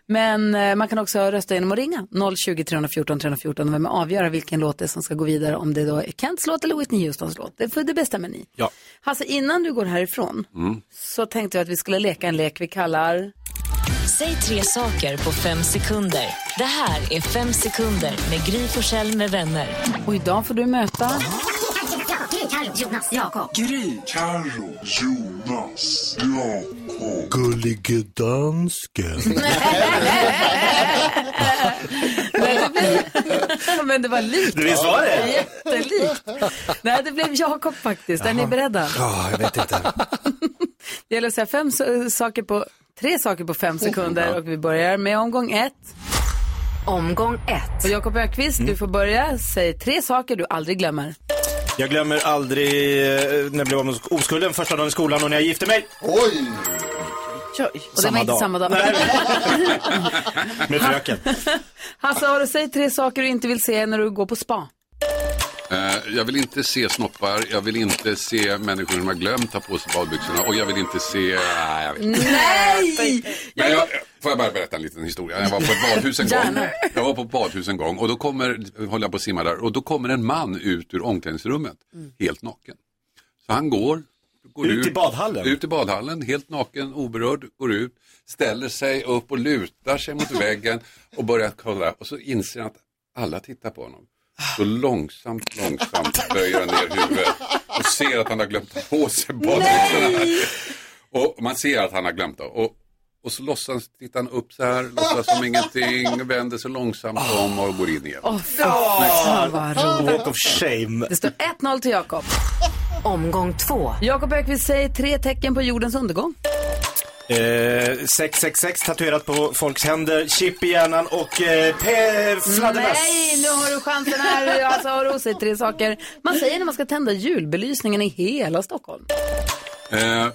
[SPEAKER 1] men eh, man kan också rösta genom att ringa 020 314 314 och vem avgöra vilken låt det är som ska gå vidare om det då är Kents låt eller Whitney Houstons låt. Det, får- det bestämmer ni.
[SPEAKER 12] Ja.
[SPEAKER 1] Hasse, innan du går härifrån
[SPEAKER 12] Mm.
[SPEAKER 1] så tänkte jag att vi skulle leka en lek vi kallar...
[SPEAKER 8] Säg tre saker på fem sekunder. Det här är Fem sekunder med Gry Forssell med vänner.
[SPEAKER 1] Och idag får du möta...
[SPEAKER 8] Gry, Carro, Jonas, Jakob.
[SPEAKER 5] Gry, Carro, Jonas, Jakob.
[SPEAKER 13] Gullige dansken.
[SPEAKER 1] Men det var likt.
[SPEAKER 5] Det visst var det?
[SPEAKER 1] Jättelikt. Nej, det blev Jakob faktiskt. Är ni beredda?
[SPEAKER 5] Ja, jag vet inte.
[SPEAKER 1] Det gäller att säga fem s- saker på, tre saker på fem sekunder och vi börjar med omgång ett. Omgång ett. Och Jakob Ökvist, du får börja. Säg tre saker du aldrig glömmer.
[SPEAKER 3] Jag glömmer aldrig eh, när jag blev av med oskulden första dagen i skolan och när jag gifte mig.
[SPEAKER 6] Oj!
[SPEAKER 1] Och det var inte samma dag.
[SPEAKER 3] Med fröken.
[SPEAKER 1] Hasse, har du säg tre saker du inte vill se när du går på spa.
[SPEAKER 12] Eh, jag vill inte se snoppar, jag vill inte se människor som har glömt ta på sig badbyxorna och jag vill inte se... Ah, jag vet inte.
[SPEAKER 1] Nej!
[SPEAKER 12] Men jag, får jag bara berätta en liten historia? Jag var på ett badhus en gång.
[SPEAKER 5] Gärna.
[SPEAKER 12] Jag var på ett badhus en gång och då kommer, håller jag på att simma där, och då kommer en man ut ur omklädningsrummet, helt naken. Så han går, går
[SPEAKER 3] Ut i badhallen?
[SPEAKER 12] Ut i badhallen, helt naken, oberörd, går ut, ställer sig upp och lutar sig mot väggen och börjar kolla och så inser han att alla tittar på honom. Så långsamt, långsamt böjer han ner huvudet och ser att han har glömt ta på sig badbyxorna. Och man ser att han har glömt det. Och, och så låtsas, tittar han upp så här, låtsas som ingenting, vänder sig långsamt om och går in igen.
[SPEAKER 1] Åh, fy fan vad roligt.
[SPEAKER 12] of
[SPEAKER 3] shame.
[SPEAKER 1] Det står 1-0 till Jakob. Omgång två. Jakob Ökvist säger tre tecken på jordens undergång.
[SPEAKER 3] Eh, 666 tatuerat på folks händer, chip i hjärnan och eh, pe- fladdermöss.
[SPEAKER 1] Mm, Nej, nu har du chansen här. Alltså, har du säg tre saker man säger när man ska tända julbelysningen i hela Stockholm.
[SPEAKER 12] Eh,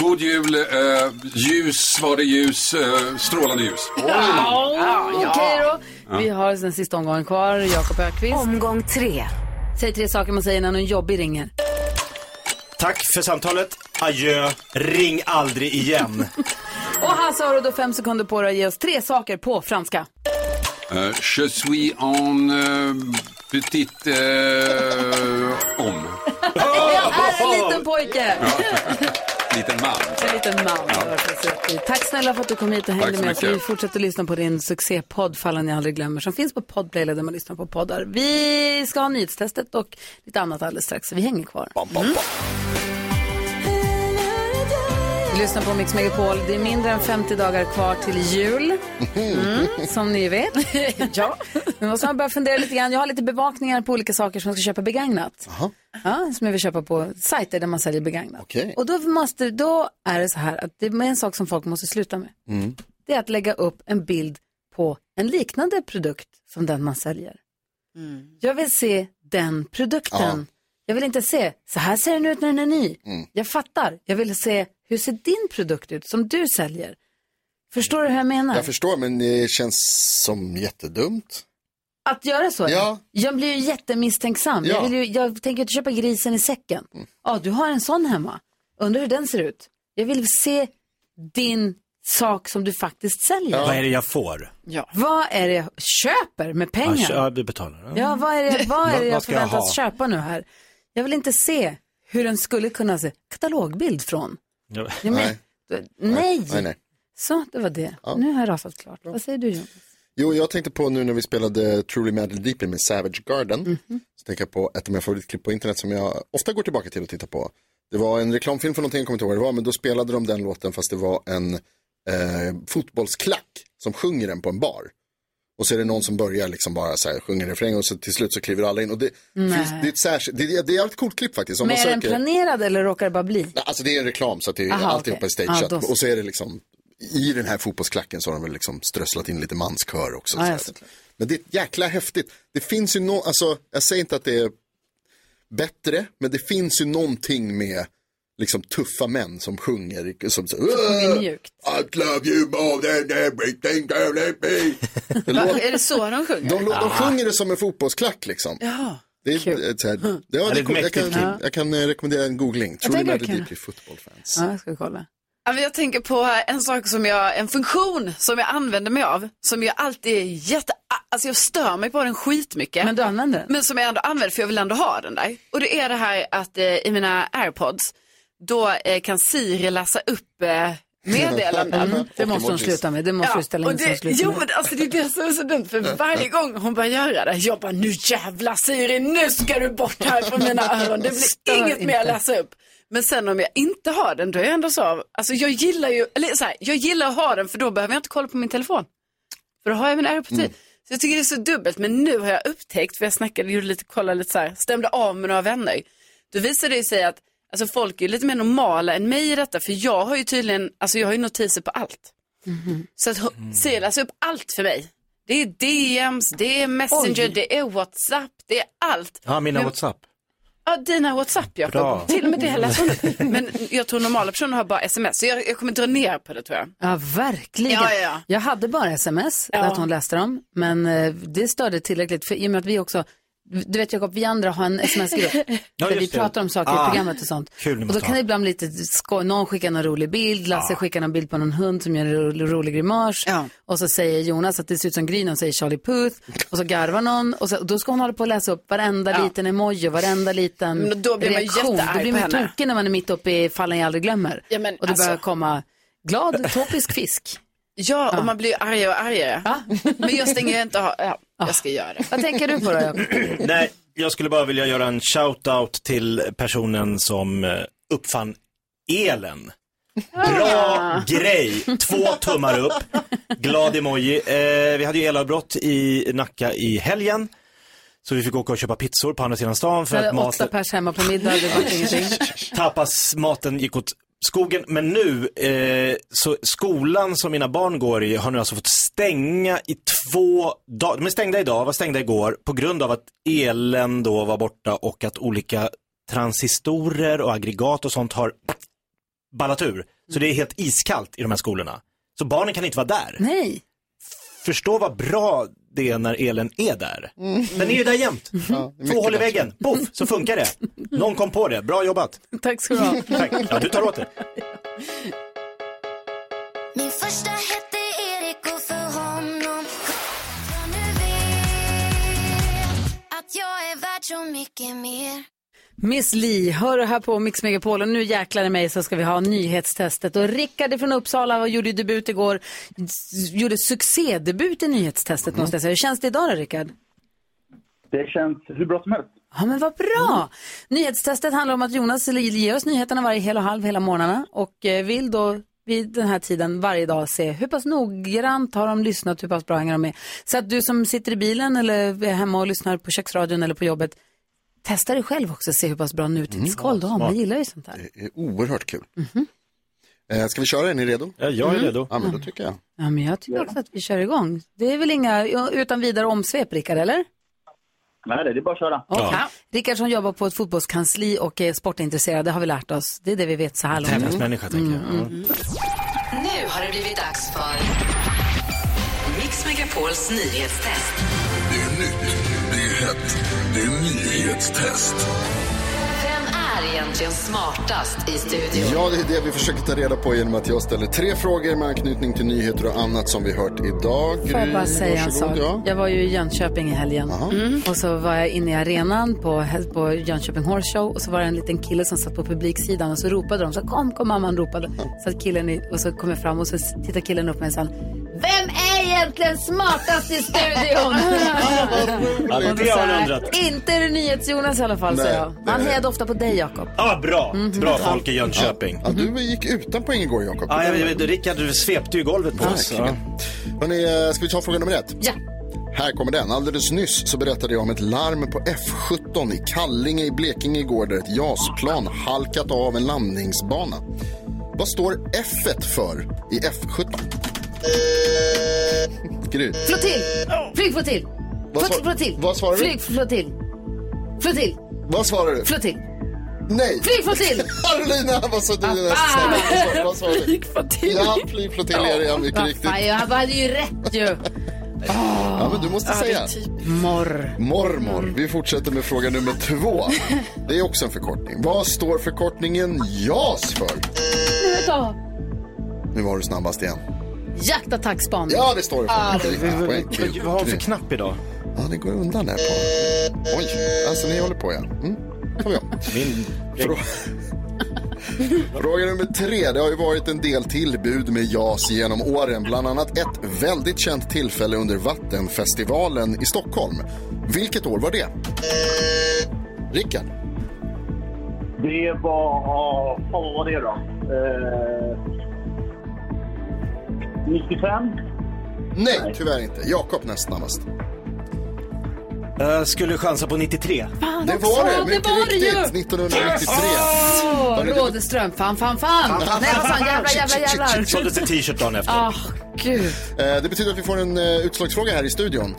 [SPEAKER 12] god jul, eh, ljus var det ljus, eh, strålande ljus.
[SPEAKER 1] Ja,
[SPEAKER 12] ja.
[SPEAKER 1] Okej då.
[SPEAKER 12] Ja.
[SPEAKER 1] Vi har den sista omgången kvar. Jakob Ökvist. Omgång tre. Säg tre saker man säger när någon jobbig ringer.
[SPEAKER 3] Tack för samtalet, adjö, ring aldrig igen.
[SPEAKER 1] Och Hasse har du då fem sekunder på dig att ge oss tre saker på franska.
[SPEAKER 12] Eh, je suis en eh, petit eh, homme.
[SPEAKER 1] Jag är en liten pojke.
[SPEAKER 12] Liten man.
[SPEAKER 1] En liten man. Tack snälla för att du kom hit och
[SPEAKER 12] Tack
[SPEAKER 1] hängde
[SPEAKER 12] så
[SPEAKER 1] med oss.
[SPEAKER 12] mycket.
[SPEAKER 1] Vi fortsätter lyssna på din succépodd Fallen jag aldrig glömmer som finns på Podplay eller där man lyssnar på poddar. Vi ska ha nyhetstestet och lite annat alldeles strax så vi hänger kvar. Mm. Lyssna på Mix Megapol. Det är mindre än 50 dagar kvar till jul. Mm, som ni vet. ja. Nu måste man börja fundera lite grann. Jag har lite bevakningar på olika saker som jag ska köpa begagnat. Ja, som jag vill köpa på sajter där man säljer begagnat.
[SPEAKER 5] Okej.
[SPEAKER 1] Och då, måste, då är det så här att det är en sak som folk måste sluta med.
[SPEAKER 5] Mm.
[SPEAKER 1] Det är att lägga upp en bild på en liknande produkt som den man säljer. Jag vill se den produkten. Jag vill inte se, så här ser den ut när den är ny.
[SPEAKER 6] Mm.
[SPEAKER 1] Jag fattar. Jag vill se, hur ser din produkt ut som du säljer? Förstår du hur jag menar?
[SPEAKER 6] Jag förstår, men det känns som jättedumt.
[SPEAKER 1] Att göra så?
[SPEAKER 6] Ja.
[SPEAKER 1] Jag blir ju jättemisstänksam.
[SPEAKER 6] Ja. Mm.
[SPEAKER 1] Jag, vill ju, jag tänker inte köpa grisen i säcken. Ja, du har en sån hemma. Undrar hur den ser ut. Jag vill se din sak som du faktiskt säljer.
[SPEAKER 3] Vad är det jag får?
[SPEAKER 1] Vad är det jag köper med pengar?
[SPEAKER 3] Ja, kö- vi betalar.
[SPEAKER 1] Ja, vad är det, vad
[SPEAKER 3] Vad-
[SPEAKER 1] är det
[SPEAKER 3] vad
[SPEAKER 1] jag
[SPEAKER 3] ska jag
[SPEAKER 1] förväntas
[SPEAKER 3] ha?
[SPEAKER 1] köpa nu här? Jag vill inte se hur den skulle kunna se katalogbild från.
[SPEAKER 3] Ja.
[SPEAKER 1] Ja, men- Nej. Nej.
[SPEAKER 6] Nej, nej.
[SPEAKER 1] Så, det var det. Nu har jag rasat klart. Vad säger du, Jonas?
[SPEAKER 6] Jo, jag tänkte på nu när vi spelade Truly Madly Deeply med Savage Garden.
[SPEAKER 1] Mhm.
[SPEAKER 6] Så tänker jag på ett av mina favoritklipp på internet som jag ofta går tillbaka till och tittar på. Det var en reklamfilm för någonting, jag kommer inte ihåg vad det var, men då spelade de den låten fast det var en eh, fotbollsklack som sjunger den på en bar. Och så är det någon som börjar liksom bara så här, sjunger refrängen och så till slut så kliver alla in. Och det,
[SPEAKER 1] Nej.
[SPEAKER 6] finns, det är ett särskilt, det, är- det är ett coolt klipp faktiskt. Om
[SPEAKER 1] Men
[SPEAKER 6] man
[SPEAKER 1] är den
[SPEAKER 6] söker...
[SPEAKER 1] planerad eller råkar det bara bli?
[SPEAKER 6] Nej, Alltså det är en reklam så att det är
[SPEAKER 1] Aha,
[SPEAKER 6] alltihopa
[SPEAKER 1] okej.
[SPEAKER 6] är stageat.
[SPEAKER 1] Ja, då så.
[SPEAKER 6] och så är det liksom i den här fotbollsklacken så har de väl liksom strösslat in lite manskör också.
[SPEAKER 5] Ja, ja,
[SPEAKER 6] så att, men det är jäkla häftigt. Det finns ju no, alltså, jag säger inte att det är bättre, men det finns ju någonting med liksom tuffa män som sjunger, som så,
[SPEAKER 5] sjunger mjukt.
[SPEAKER 6] I love you more than everything girl let me. Det
[SPEAKER 4] Va,
[SPEAKER 6] låter-
[SPEAKER 4] är det så de sjunger?
[SPEAKER 6] de, lå- de sjunger det som en fotbollsklack liksom.
[SPEAKER 4] Ja.
[SPEAKER 6] Det är, ett så här, ja, det
[SPEAKER 4] Ja, det är ett
[SPEAKER 6] kom- jag,
[SPEAKER 4] mäktigt
[SPEAKER 6] kan,
[SPEAKER 4] klipp.
[SPEAKER 6] jag kan eh, rekommendera en googling.
[SPEAKER 4] Jag
[SPEAKER 6] Truly
[SPEAKER 4] tänker jag
[SPEAKER 6] Madly
[SPEAKER 4] kan.
[SPEAKER 6] Deeply Football Fans.
[SPEAKER 4] Ja, jag ska kolla. Ja, men Jag tänker på en sak som jag, en funktion som jag använder mig av, som jag alltid är jätte, alltså jag stör mig på den skitmycket. Men
[SPEAKER 1] du använder den?
[SPEAKER 4] Men som jag ändå använder för jag vill ändå ha den där. Och det är det här att eh, i mina airpods, då eh, kan Siri läsa upp eh, meddelanden.
[SPEAKER 1] Mm, det måste hon sluta med. Det måste du ställa
[SPEAKER 4] och
[SPEAKER 1] in så
[SPEAKER 4] det,
[SPEAKER 1] hon slutar
[SPEAKER 4] Jo
[SPEAKER 1] med.
[SPEAKER 4] men alltså det är det som är så dumt för varje gång hon börjar göra det, jag bara nu jävla Siri, nu ska du bort här från mina öron. Det blir
[SPEAKER 1] Stör
[SPEAKER 4] inget mer
[SPEAKER 1] inte.
[SPEAKER 4] att läsa upp. Men sen om jag inte har den, då är jag ändå så, alltså jag gillar ju, eller så här, jag gillar att ha den för då behöver jag inte kolla på min telefon. För då har jag min AirPods i.
[SPEAKER 5] Mm.
[SPEAKER 4] Så jag tycker det är så dubbelt, men nu har jag upptäckt, för jag snackade, gjorde lite, kollade lite så här, stämde av med några vänner. Då visade det ju sig att, alltså folk är ju lite mer normala än mig i detta, för jag har ju tydligen, alltså jag har ju notiser på allt. Så att mm. Siri läser upp allt för mig. Det är DMs, det är Messenger,
[SPEAKER 9] Oj.
[SPEAKER 4] det är WhatsApp, det är allt.
[SPEAKER 9] Ja, mina
[SPEAKER 4] Men-
[SPEAKER 9] WhatsApp.
[SPEAKER 4] Ja, dina WhatsApp
[SPEAKER 9] Bra.
[SPEAKER 4] Jakob. Till och med det läser hon upp. Men jag tror normala personer har bara sms, så jag, jag kommer dra ner på det tror jag.
[SPEAKER 1] Ja, verkligen.
[SPEAKER 4] Ja, ja, ja.
[SPEAKER 1] Jag hade bara sms,
[SPEAKER 4] Ja.
[SPEAKER 1] att hon läste dem, men eh, det störde tillräckligt för i och med att vi också, du vet Jakob, vi andra har en sms-grupp
[SPEAKER 5] Ja,
[SPEAKER 1] där vi
[SPEAKER 5] just det.
[SPEAKER 1] pratar om saker
[SPEAKER 5] Ah.
[SPEAKER 1] i programmet och sånt.
[SPEAKER 5] Kul när man
[SPEAKER 1] och då
[SPEAKER 5] tar.
[SPEAKER 1] kan det ibland bli lite skoj, någon skickar någon rolig bild, Lasse skickar någon bild på någon hund som gör en rolig, rolig grimas och så säger Jonas att det ser ut som Gryn och säger Charlie Puth och så garvar någon och, så, och då ska hon hålla på och läsa upp varenda
[SPEAKER 4] Ja.
[SPEAKER 1] liten emoji och varenda liten
[SPEAKER 4] Men då blir man ju
[SPEAKER 1] reaktion.
[SPEAKER 4] jättearg
[SPEAKER 1] Då blir
[SPEAKER 4] på
[SPEAKER 1] man
[SPEAKER 4] henne.
[SPEAKER 1] tokig när man är mitt uppe i fallen jag aldrig glömmer.
[SPEAKER 4] Ja, men
[SPEAKER 1] och det
[SPEAKER 4] alltså-
[SPEAKER 1] börjar komma glad, tropisk fisk.
[SPEAKER 4] Ja, och man blir ju argare och argare. Men jag stänger ju inte av, ja, jag ska göra det.
[SPEAKER 1] Ah. Vad tänker du på då, Jakob?
[SPEAKER 3] Nej, jag skulle bara vilja göra en shout-out till personen som eh, uppfann elen.
[SPEAKER 1] Ah.
[SPEAKER 3] Bra grej! Två tummar upp. Glad emoji. Eh, vi hade ju elavbrott i Nacka i helgen. Så vi fick åka och köpa pizzor på andra sidan stan för
[SPEAKER 1] För
[SPEAKER 3] att
[SPEAKER 1] åtta
[SPEAKER 3] maten,
[SPEAKER 1] pers hemma på middag, det var ingenting.
[SPEAKER 3] tapas, maten gick åt skogen. Men nu, eh, så skolan som mina barn går i har nu alltså fått stänga i två dagar. De är stängda idag, var stängda igår på grund av att elen då var borta och att olika transistorer och aggregat och sånt har ballat ur. Så det är helt iskallt i de här skolorna. Så barnen kan inte vara där.
[SPEAKER 1] Nej.
[SPEAKER 3] Förstå vad bra det är när elen är där.
[SPEAKER 5] Mm.
[SPEAKER 3] Den är ju där jämt.
[SPEAKER 5] Ja, det är
[SPEAKER 3] Två hål i
[SPEAKER 5] mycket
[SPEAKER 3] väggen, poff, så funkar det. Någon kom på det, bra jobbat.
[SPEAKER 1] Tack ska du ha.
[SPEAKER 3] Tack. Ja, du tar åt dig.
[SPEAKER 5] Min första hette Erik och för honom jag nu vet att jag är värd så mycket mer
[SPEAKER 1] Miss Li, hör du här på Mix Megapol och nu jäklar i mig så ska vi ha nyhetstestet. Och Rickard från Uppsala gjorde ju debut igår, s- gjorde succédebut i nyhetstestet måste jag säga. Hur känns det idag då Rickard?
[SPEAKER 16] Det känns hur bra som helst.
[SPEAKER 1] Ja men vad bra! Nyhetstestet handlar om att Jonas Li- ger oss nyheterna varje hel och halv hela morgnarna och eh, vill då vid den här tiden varje dag se hur pass noggrant har de lyssnat, hur pass bra hänger de med. Så att du som sitter i bilen eller är hemma och lyssnar på köksradion eller på jobbet, testa dig själv också se hur pass bra nutidskoll
[SPEAKER 6] Mm.
[SPEAKER 1] du har. Man gillar ju sånt där.
[SPEAKER 6] Det är oerhört kul. Eh, Ska vi köra? Är ni redo?
[SPEAKER 3] Ja, jag är Mhm. redo.
[SPEAKER 6] Ja, men då tycker jag.
[SPEAKER 1] Ja, men jag tycker också att vi kör igång. Det är väl inga utan vidare omsvep, Rickard, eller?
[SPEAKER 16] Nej, det är bara att köra.
[SPEAKER 1] Ja. Rickard som jobbar på ett fotbollskansli och är sportintresserad, det har vi lärt oss. Det är det vi vet så här långt. Mm,
[SPEAKER 3] Tävlingsmänniska, tänker jag.
[SPEAKER 6] Mm.
[SPEAKER 2] Nu har det blivit dags för Mix Megapols nyhetstest.
[SPEAKER 13] Det är nytt, det är hett, det är nyhetstest.
[SPEAKER 2] Vem är egentligen smartast i studion?
[SPEAKER 6] Ja, det är det vi försöker ta reda på genom att jag ställer tre frågor med anknytning till nyheter och annat som vi hört idag.
[SPEAKER 1] Får jag bara
[SPEAKER 6] Gry,
[SPEAKER 1] säga en sak?
[SPEAKER 6] varsågod, ja.
[SPEAKER 1] Jag var ju i Jönköping i helgen. Mm. Och så var jag inne i arenan på, på Jönköping Horse Show och så var det en liten kille som satt på publiksidan och så ropade de så här, kom, kom mamman ropade. Så att killen i, och så kom jag fram och så tittade killen upp mig och sa Vem är egentligen smartast i studion?
[SPEAKER 3] Ja,
[SPEAKER 1] Och då
[SPEAKER 3] det
[SPEAKER 1] sa
[SPEAKER 3] har man
[SPEAKER 1] jag,
[SPEAKER 3] undrat.
[SPEAKER 1] Alltså, Inte är det NyhetsJonas i alla fall, sa
[SPEAKER 3] Nej,
[SPEAKER 1] jag. Han hejade ofta på dig, Jakob.
[SPEAKER 3] Ja, Ah, bra. Bra folk i Jönköping. Ah,
[SPEAKER 6] Ja, du gick utan poäng igår, Jakob.
[SPEAKER 3] Ja, jag vet. Rickard du svepte ju golvet på oss.
[SPEAKER 6] Verkligen. Alltså. Hörrni, eh, ska vi ta fråga nummer ett?
[SPEAKER 1] Ja.
[SPEAKER 6] Här kommer den. Alldeles nyss så berättade jag om ett larm på F17 i Kallinge i Blekinge igår där ett JAS-plan halkat av en landningsbana. Vad står F för i F17? Gry.
[SPEAKER 1] Flottilj! Flygflottilj!
[SPEAKER 6] Vad
[SPEAKER 1] Flott-
[SPEAKER 6] svar-
[SPEAKER 1] Flottilj!
[SPEAKER 6] vad svarar du?
[SPEAKER 1] Flygflottilj! Flottilj!
[SPEAKER 6] Vad svarar du?
[SPEAKER 1] Flottilj!
[SPEAKER 6] Nej!
[SPEAKER 1] Flygflottilj!
[SPEAKER 6] Carolina, vad sa du? i den här
[SPEAKER 1] Ah,
[SPEAKER 6] snabba
[SPEAKER 1] fan.
[SPEAKER 6] frågan? Vad svarar du?
[SPEAKER 1] Flygflottilj.
[SPEAKER 6] Ja, flygflottilj är det, ja, mycket
[SPEAKER 1] Vad
[SPEAKER 6] riktigt.
[SPEAKER 1] fan, Jag hade ju rätt ju.
[SPEAKER 6] Ja, men du måste
[SPEAKER 1] Ja, det är
[SPEAKER 6] säga.
[SPEAKER 1] typ Morr.
[SPEAKER 6] Mormor. Vi fortsätter med fråga nummer två. Det är också en förkortning. Vad står förkortningen JAS för?
[SPEAKER 1] Ja.
[SPEAKER 6] Nu var du snabbast igen.
[SPEAKER 1] Jaktattackspaning.
[SPEAKER 6] Ja, det står det
[SPEAKER 1] Ah,
[SPEAKER 6] för. Det är poäng till.
[SPEAKER 1] Vad har han för
[SPEAKER 6] knapp idag? Ja, det går undan här på. Oj, alltså ni håller på ja. Mm. Kom igen. Min... Fråga nummer tre. Det har ju varit en del tillbud med JAS genom åren. Bland annat ett väldigt känt tillfälle under Vattenfestivalen i Stockholm. Vilket år var det? Rickard.
[SPEAKER 16] Det var... Vad var det då? Eh, 95?
[SPEAKER 6] Nej, tyvärr inte. Jakob näst snabbast.
[SPEAKER 3] Jag skulle chansa på 93.
[SPEAKER 6] Det var det,
[SPEAKER 1] Ja,
[SPEAKER 6] mycket
[SPEAKER 1] var det ju.
[SPEAKER 6] riktigt. 1993.
[SPEAKER 1] Åh,
[SPEAKER 6] Var det-
[SPEAKER 1] Rådeström. Fan, fan, fan. Nej, vad fan. Jävlar, jävlar, jävlar.
[SPEAKER 6] Såldes en t-shirt dagen efter.
[SPEAKER 1] Ah, gud.
[SPEAKER 6] Eh, Det betyder att vi får en eh, utslagsfråga här i studion.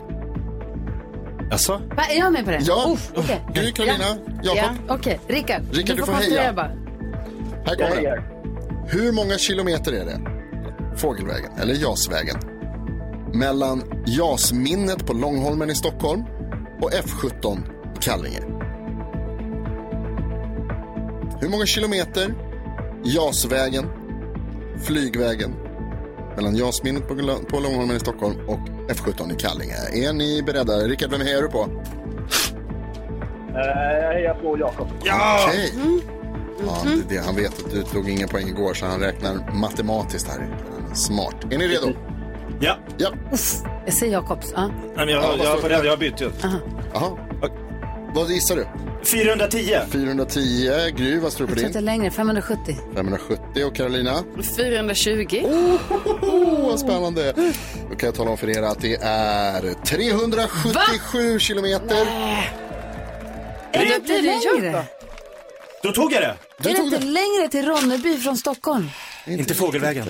[SPEAKER 6] Jaså?
[SPEAKER 1] Va, Är jag med på det?
[SPEAKER 6] Ja.
[SPEAKER 1] Uff, okej.
[SPEAKER 6] Gry, Karolina,
[SPEAKER 1] ja.
[SPEAKER 6] Jakob.
[SPEAKER 1] Ja. Okej, Rickard.
[SPEAKER 6] Rickard, du får
[SPEAKER 1] koncentrera
[SPEAKER 6] heja.
[SPEAKER 1] bara.
[SPEAKER 6] Här kommer den. Hur många kilometer är det? Fågelvägen, eller Jasvägen. Mellan Jasminnet på Långholmen i Stockholm och F17 i Kallinge. Hur många kilometer Jasvägen, flygvägen, mellan Jasminnet på, Lång- på Långholmen i Stockholm och F17 i Kallinge? Är ni beredda? Rickard, vem hejar du på?
[SPEAKER 16] Eh, jag hejar på Jakob.
[SPEAKER 6] Okej. Ja,
[SPEAKER 1] Mhm.
[SPEAKER 6] det, det, han vet att du tog ingen poäng igår så han räknar matematiskt här. Smart. Är ni redo?
[SPEAKER 3] Ja.
[SPEAKER 6] ja.
[SPEAKER 1] Uff, jag säger Jakobs. Ja.
[SPEAKER 3] Nej, men jag,
[SPEAKER 6] Ja,
[SPEAKER 3] jag,
[SPEAKER 6] vad
[SPEAKER 3] jag,
[SPEAKER 6] står
[SPEAKER 3] jag,
[SPEAKER 6] det?
[SPEAKER 3] har bytt ut.
[SPEAKER 6] Jaha. Vad gissar du?
[SPEAKER 3] 410.
[SPEAKER 6] 410. Gry, vad står det
[SPEAKER 1] Jag tror att
[SPEAKER 6] på
[SPEAKER 1] det är
[SPEAKER 6] din?
[SPEAKER 1] längre. 570.
[SPEAKER 6] 570 och Carolina?
[SPEAKER 4] 420.
[SPEAKER 6] Åh, vad spännande. Då kan jag tala om för er att det är 377 kilometer.
[SPEAKER 1] Är det inte längre?
[SPEAKER 3] Då tog jag det.
[SPEAKER 1] Är det inte längre till Ronneby från Stockholm?
[SPEAKER 3] Inte fågelvägen.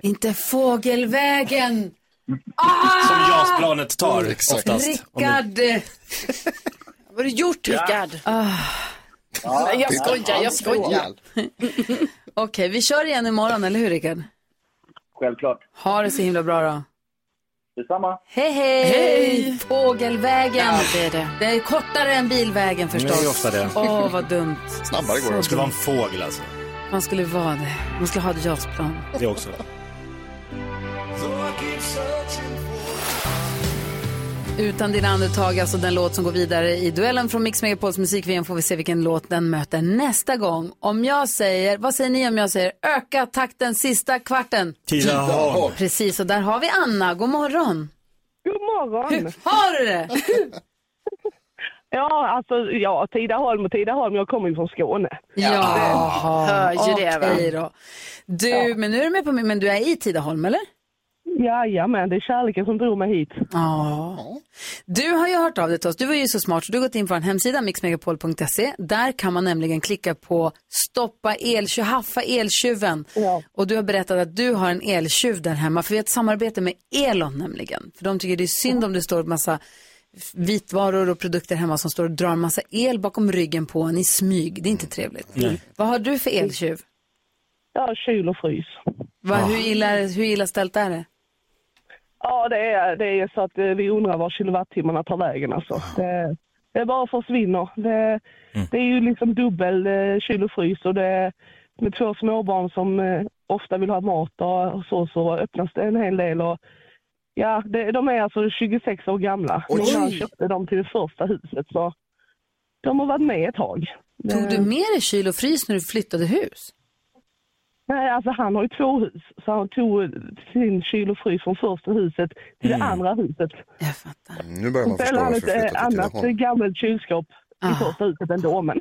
[SPEAKER 1] Inte fågelvägen.
[SPEAKER 3] Som JAS-planet tar oftast.
[SPEAKER 1] Rickard. Ah.
[SPEAKER 4] Vad har du gjort, Rickard? Nej, jag skojar, jag skojar.
[SPEAKER 1] Okej, vi kör igen imorgon, eller hur Rickard?
[SPEAKER 16] Självklart.
[SPEAKER 1] Ha det så himla bra då.
[SPEAKER 16] Detsamma.
[SPEAKER 1] Hej, hej!
[SPEAKER 4] Hej!
[SPEAKER 1] Fågelvägen.
[SPEAKER 4] Ja, det är det.
[SPEAKER 1] Det är kortare än bilvägen förstås.
[SPEAKER 3] Det är ofta det.
[SPEAKER 1] Åh, vad dumt.
[SPEAKER 6] Snabbare
[SPEAKER 1] går det.
[SPEAKER 3] det. skulle vara en fågel alltså.
[SPEAKER 1] Man skulle vara det. Man skulle ha ett JAS-plan.
[SPEAKER 3] Det också.
[SPEAKER 1] Utan dina andetag, alltså den låt som går vidare i duellen från Mix Megapols musik-VM får vi se vilken låt den möter nästa gång. Om jag säger, vad säger ni om jag säger öka takten sista kvarten?
[SPEAKER 3] Tidaholm.
[SPEAKER 1] Precis, och där har vi Anna. God morgon.
[SPEAKER 17] God morgon!
[SPEAKER 1] Har du det?
[SPEAKER 17] Ja, alltså ja, Tidaholm och Tidaholm, jag kommer ju från Skåne.
[SPEAKER 1] Jaha,
[SPEAKER 17] hör ju det, va?
[SPEAKER 1] okej då. Du, men nu är du med på min, men du är i Tidaholm eller?
[SPEAKER 17] Jajamän, det är kärleken som drog mig hit.
[SPEAKER 1] Ja. Du har ju hört av dig till oss. Du var ju så smart så du har gått in på en hemsida, mixmegapol.se. Där kan man nämligen klicka på stoppa eltjuv, haffa eltjuven. Och du har berättat att du har en eltjuv där hemma. För vi har ett samarbete med Elon nämligen. För de tycker det är synd om det står massa vitvaror och produkter hemma som står och drar massa el bakom ryggen på en i smyg. Det är inte trevligt.
[SPEAKER 17] Nej.
[SPEAKER 1] Vad har du för eltjuv?
[SPEAKER 17] Ja, kyl och frys.
[SPEAKER 1] Va, hur, illa, hur illa ställt är det?
[SPEAKER 17] Ja, det är, det är så att eh, vi undrar var kilowattimmarna tar vägen alltså. Det, det bara försvinner. Det, det är ju liksom dubbel eh, kyl och frys och det, med två småbarn som eh, ofta vill ha mat och, och så, så öppnas det en hel del. Och, ja, det, de är alltså 26 år gamla.
[SPEAKER 1] Oj.
[SPEAKER 17] Men jag köpte dem till det första huset så de har varit med ett tag.
[SPEAKER 1] Tog du med dig kyl och frys när du flyttade hus?
[SPEAKER 17] Nej, alltså han har ju två hus. Så han tog eh, sin kyl och frys från första huset till det andra huset.
[SPEAKER 6] Nu börjar man
[SPEAKER 17] Sen
[SPEAKER 6] förstå
[SPEAKER 17] har han
[SPEAKER 6] varför
[SPEAKER 17] ett
[SPEAKER 6] vi
[SPEAKER 17] eh,
[SPEAKER 6] flyttat till
[SPEAKER 17] annat eh,
[SPEAKER 6] Tidaholm.
[SPEAKER 17] gammalt kylskåp i första huset ändå. Men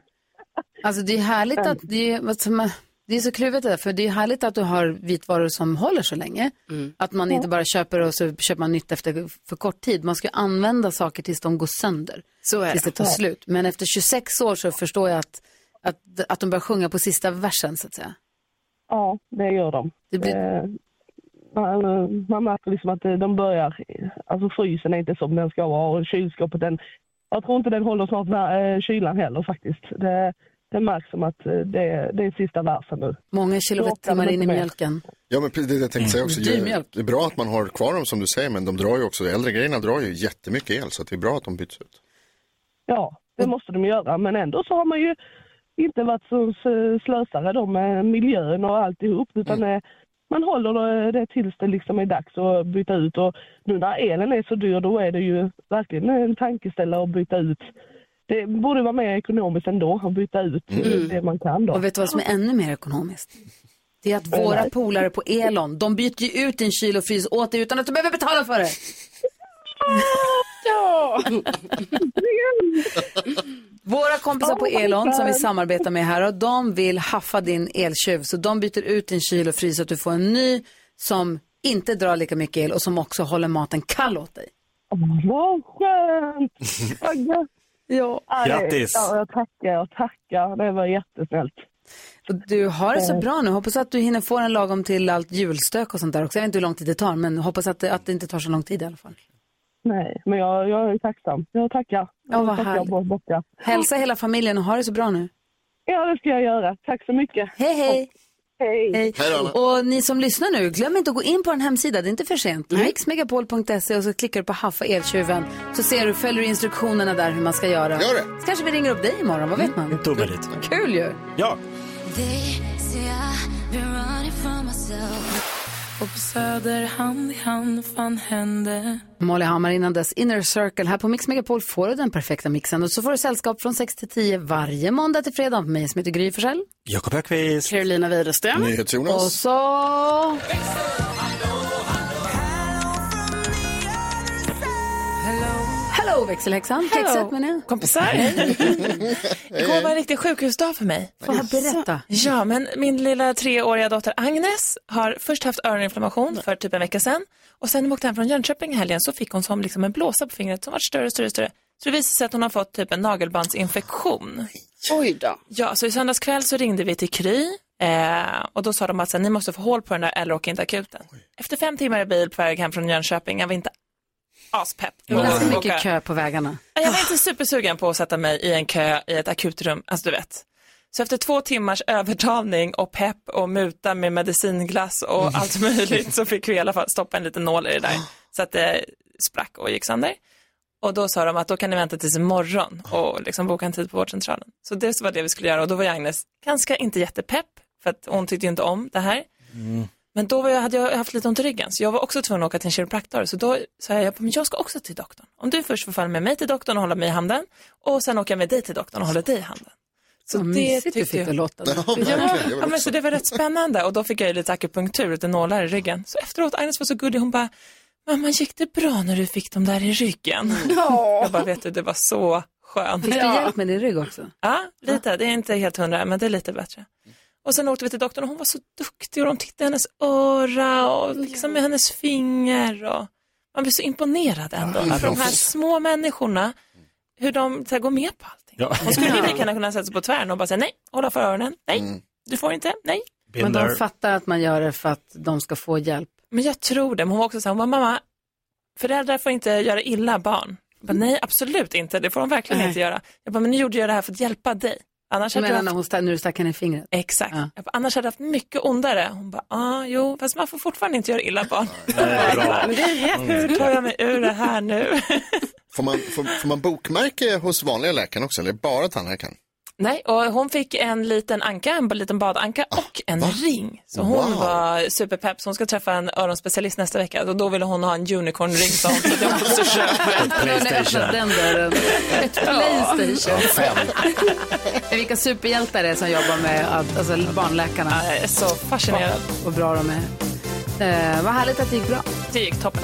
[SPEAKER 1] Alltså det är härligt att, det är, vad som- det är så kluvet det där, för det är härligt att du har vitvaror som håller så länge.
[SPEAKER 4] Mm.
[SPEAKER 1] Att man inte bara köper och så köper man nytt efter för kort tid. Man ska ju använda saker tills de går sönder.
[SPEAKER 4] Så är det.
[SPEAKER 1] tills det tar
[SPEAKER 4] Ja.
[SPEAKER 1] slut. Men efter 26 år så förstår jag att, att, att de börjar sjunga på sista versen så att säga.
[SPEAKER 17] Ja, det gör de. Eh, man, man märker liksom att eh, de börjar... Alltså frysen är inte som den ska vara och kylskåpet den... Jag tror inte den håller snart när, eh, kylan heller faktiskt. Det, det märks som att eh, det, det är sista versen nu.
[SPEAKER 1] Många kilowattimmar in i mjölken.
[SPEAKER 6] Ja, men precis det jag tänkte säga också.
[SPEAKER 1] Mm. Dyr
[SPEAKER 6] Det
[SPEAKER 1] mjölk.
[SPEAKER 6] det är bra att man har kvar dem som du säger, men de drar ju också, de äldre grejerna drar ju jättemycket el, så att det är bra att de byts ut.
[SPEAKER 17] Ja, det måste de göra. Men ändå så har man ju inte varit så så slösare då med miljön och alltihop. Utan
[SPEAKER 1] Mm.
[SPEAKER 17] eh, man håller det tills det liksom är dags att byta ut. Och nu när elen är så dyr, då är det ju verkligen en tankeställare att byta ut. Det borde vara mer ekonomiskt ändå att byta ut eh,
[SPEAKER 1] Mm.
[SPEAKER 17] det man kan då.
[SPEAKER 1] Och vet du vad som är ännu mer ekonomiskt? Det är att våra polare på Elon, de byter ju ut din kyl och frys åt dig utan att du behöver betala för det.
[SPEAKER 4] Ja!
[SPEAKER 1] Våra kompisar på
[SPEAKER 4] Oh my
[SPEAKER 1] Elon som vi
[SPEAKER 4] God.
[SPEAKER 1] samarbetar med här, och de vill haffa din eltjuv. Så de byter ut din kyl och frys så att du får en ny som inte drar lika mycket el och som också håller maten kall åt dig.
[SPEAKER 17] Åh, Vad skönt! Vad gött!
[SPEAKER 1] Ja,
[SPEAKER 17] det-
[SPEAKER 1] Grattis.
[SPEAKER 17] Ja, jag tackar, jag tackar. Det var jättesnällt. Eh.
[SPEAKER 1] Och du har det så bra nu. Hoppas att du hinner få den lagom till allt julstök och sånt där också. Jag vet inte hur lång tid det tar, men hoppas att det, att det inte tar så lång tid i alla fall.
[SPEAKER 17] Nej, men jag, jag är tacksam. Jag tackar. Jag
[SPEAKER 1] vad
[SPEAKER 17] tackar
[SPEAKER 1] härligt.
[SPEAKER 17] bo- bocka.
[SPEAKER 1] Hälsa hela familjen och ha det så bra nu.
[SPEAKER 17] Ja, det ska jag göra. Tack så mycket.
[SPEAKER 1] Hej, hej.
[SPEAKER 17] Hej.
[SPEAKER 1] Hej. Och ni som lyssnar nu, glöm inte att gå in på en hemsida, det är inte för sent.
[SPEAKER 2] Mm.
[SPEAKER 1] Mixmegapol.se och så klickar du på Haffa eltjuven så ser du, följer du instruktionerna där hur man ska göra.
[SPEAKER 2] Gör det. Mm,
[SPEAKER 1] Så kanske vi ringer upp dig imorgon, vad vet man?
[SPEAKER 9] Tummeligt.
[SPEAKER 1] Kul ju!
[SPEAKER 9] Ja.
[SPEAKER 2] They say I've been running from myself. Och på Söder hand i hand fan hände.
[SPEAKER 1] Molly Hammar innan dess, Inner Circle. Här på Mix Megapol får du den perfekta mixen och så får du sällskap från 6 till 10 varje måndag till fredag. Med mig som heter Gry Forssell.
[SPEAKER 9] Jakob Högqvist.
[SPEAKER 4] Carolina Widerström.
[SPEAKER 1] Och så... Hello växelhäxan,
[SPEAKER 18] Hello.
[SPEAKER 1] kexet menar jag.
[SPEAKER 18] Kompisar. Igår var en riktig sjukhusdag för mig.
[SPEAKER 1] Får jag berätta?
[SPEAKER 18] Ja, men min lilla treåriga dotter Agnes har först haft öroninflammation för typ en vecka sedan och sen när hon åkte hem från Jönköping i helgen så fick hon som liksom en blåsa på fingret som var större och större och större. Så det visade sig att hon har fått typ en nagelbandsinfektion.
[SPEAKER 4] Oj då.
[SPEAKER 18] Ja, så i söndags kväll så ringde vi till Kry eh, och då sa de att så här, ni måste få hål på den där eller åka in till akuten. Efter fem timmar i bil på väg hem från Jönköping, jag var inte aspepp.
[SPEAKER 1] Det var ganska
[SPEAKER 18] Åka-
[SPEAKER 1] mycket kö på vägarna.
[SPEAKER 18] jag var inte supersugen på att sätta mig i en kö i ett akutrum, alltså du vet. Så efter två timmars övertalning och pepp och muta med medicinglass och allt möjligt så fick vi i alla fall stoppa en liten nål i det där. Så att det sprack och gick sönder. Och då sa de att då kan ni vänta tills imorgon och liksom boka en tid på vårdcentralen. Så det var det vi skulle göra och då var ju Agnes ganska inte jättepepp för att hon tyckte ju inte om det här.
[SPEAKER 6] Mm.
[SPEAKER 18] Men då var jag, hade jag haft lite ont i ryggen, så jag var också tvungen att åka till en kiropraktor. Så då sa jag, men jag ska också till doktorn. Om du först får falla med mig till doktorn och hålla mig i handen och sen åker jag med dig till doktorn och håller dig i handen. Så
[SPEAKER 1] Vad
[SPEAKER 18] det
[SPEAKER 1] mysigt du
[SPEAKER 18] tyckte
[SPEAKER 1] fick
[SPEAKER 18] jag.
[SPEAKER 1] det låta.
[SPEAKER 18] Ja, ja, men så det var rätt spännande och då fick jag ju lite akupunktur, lite nålar i ryggen. Så efteråt, Agnes var så gullig, hon bara, mamma gick det bra när du fick dem där i ryggen? Jag bara, vet du, det var så skönt.
[SPEAKER 1] Fick du hjälp med din rygg också?
[SPEAKER 18] Ja, lite. Det är inte helt hundra, men det är lite bättre. Och sen åkte vi till doktorn och hon var så duktig och de tittade i hennes öra och liksom med hennes finger. Och man blir så imponerad ändå
[SPEAKER 8] Ja,
[SPEAKER 18] över de här
[SPEAKER 8] proffs.
[SPEAKER 18] små människorna, hur de så här, går med på allting. Hon skulle ju lika gärna kunna sätta sig på tvären och bara säga nej, hålla för öronen, nej, du får inte, nej.
[SPEAKER 1] Men de fattar att man gör det för att de ska få hjälp.
[SPEAKER 18] Men jag tror det. Men hon var också så här, hon bara, mamma, föräldrar får inte göra illa barn. Jag bara, nej, absolut inte. Det får de verkligen
[SPEAKER 1] Nej.
[SPEAKER 18] inte göra. Jag bara, men nu gjorde jag det här för att hjälpa dig. Annars
[SPEAKER 1] Du
[SPEAKER 18] hade
[SPEAKER 1] menar
[SPEAKER 18] jag
[SPEAKER 1] när,
[SPEAKER 18] haft,
[SPEAKER 1] hon stack, när du stack henne i fingret?
[SPEAKER 18] Exakt. jag bara, annars hade jag haft mycket ondare. Hon bara, ah, jo, fast man får fortfarande inte göra illa barn.
[SPEAKER 6] bra.
[SPEAKER 18] men det är rätt. Hur tar jag mig ur det här nu?
[SPEAKER 6] Får man, får, får man bokmärke hos vanliga läkaren också, eller bara tandläkaren?
[SPEAKER 18] Nej, och hon fick en liten anka, en liten badanka och en ring. Så hon
[SPEAKER 6] Wow.
[SPEAKER 18] var superpepp, så hon ska träffa en öronspecialist nästa vecka. Och då ville hon ha en unicornring, sa hon, så jag måste köpa en.
[SPEAKER 1] Öppna den dörren. Ett
[SPEAKER 18] Ja.
[SPEAKER 1] Playstation.
[SPEAKER 18] Ja, fem.
[SPEAKER 1] Men Vilka superhjältar det är som jobbar med att- alltså, barnläkarna.
[SPEAKER 18] Jag är så fascinerad.
[SPEAKER 1] Vad- Vad bra de är. Eh, vad härligt att det gick bra.
[SPEAKER 18] Det gick toppen.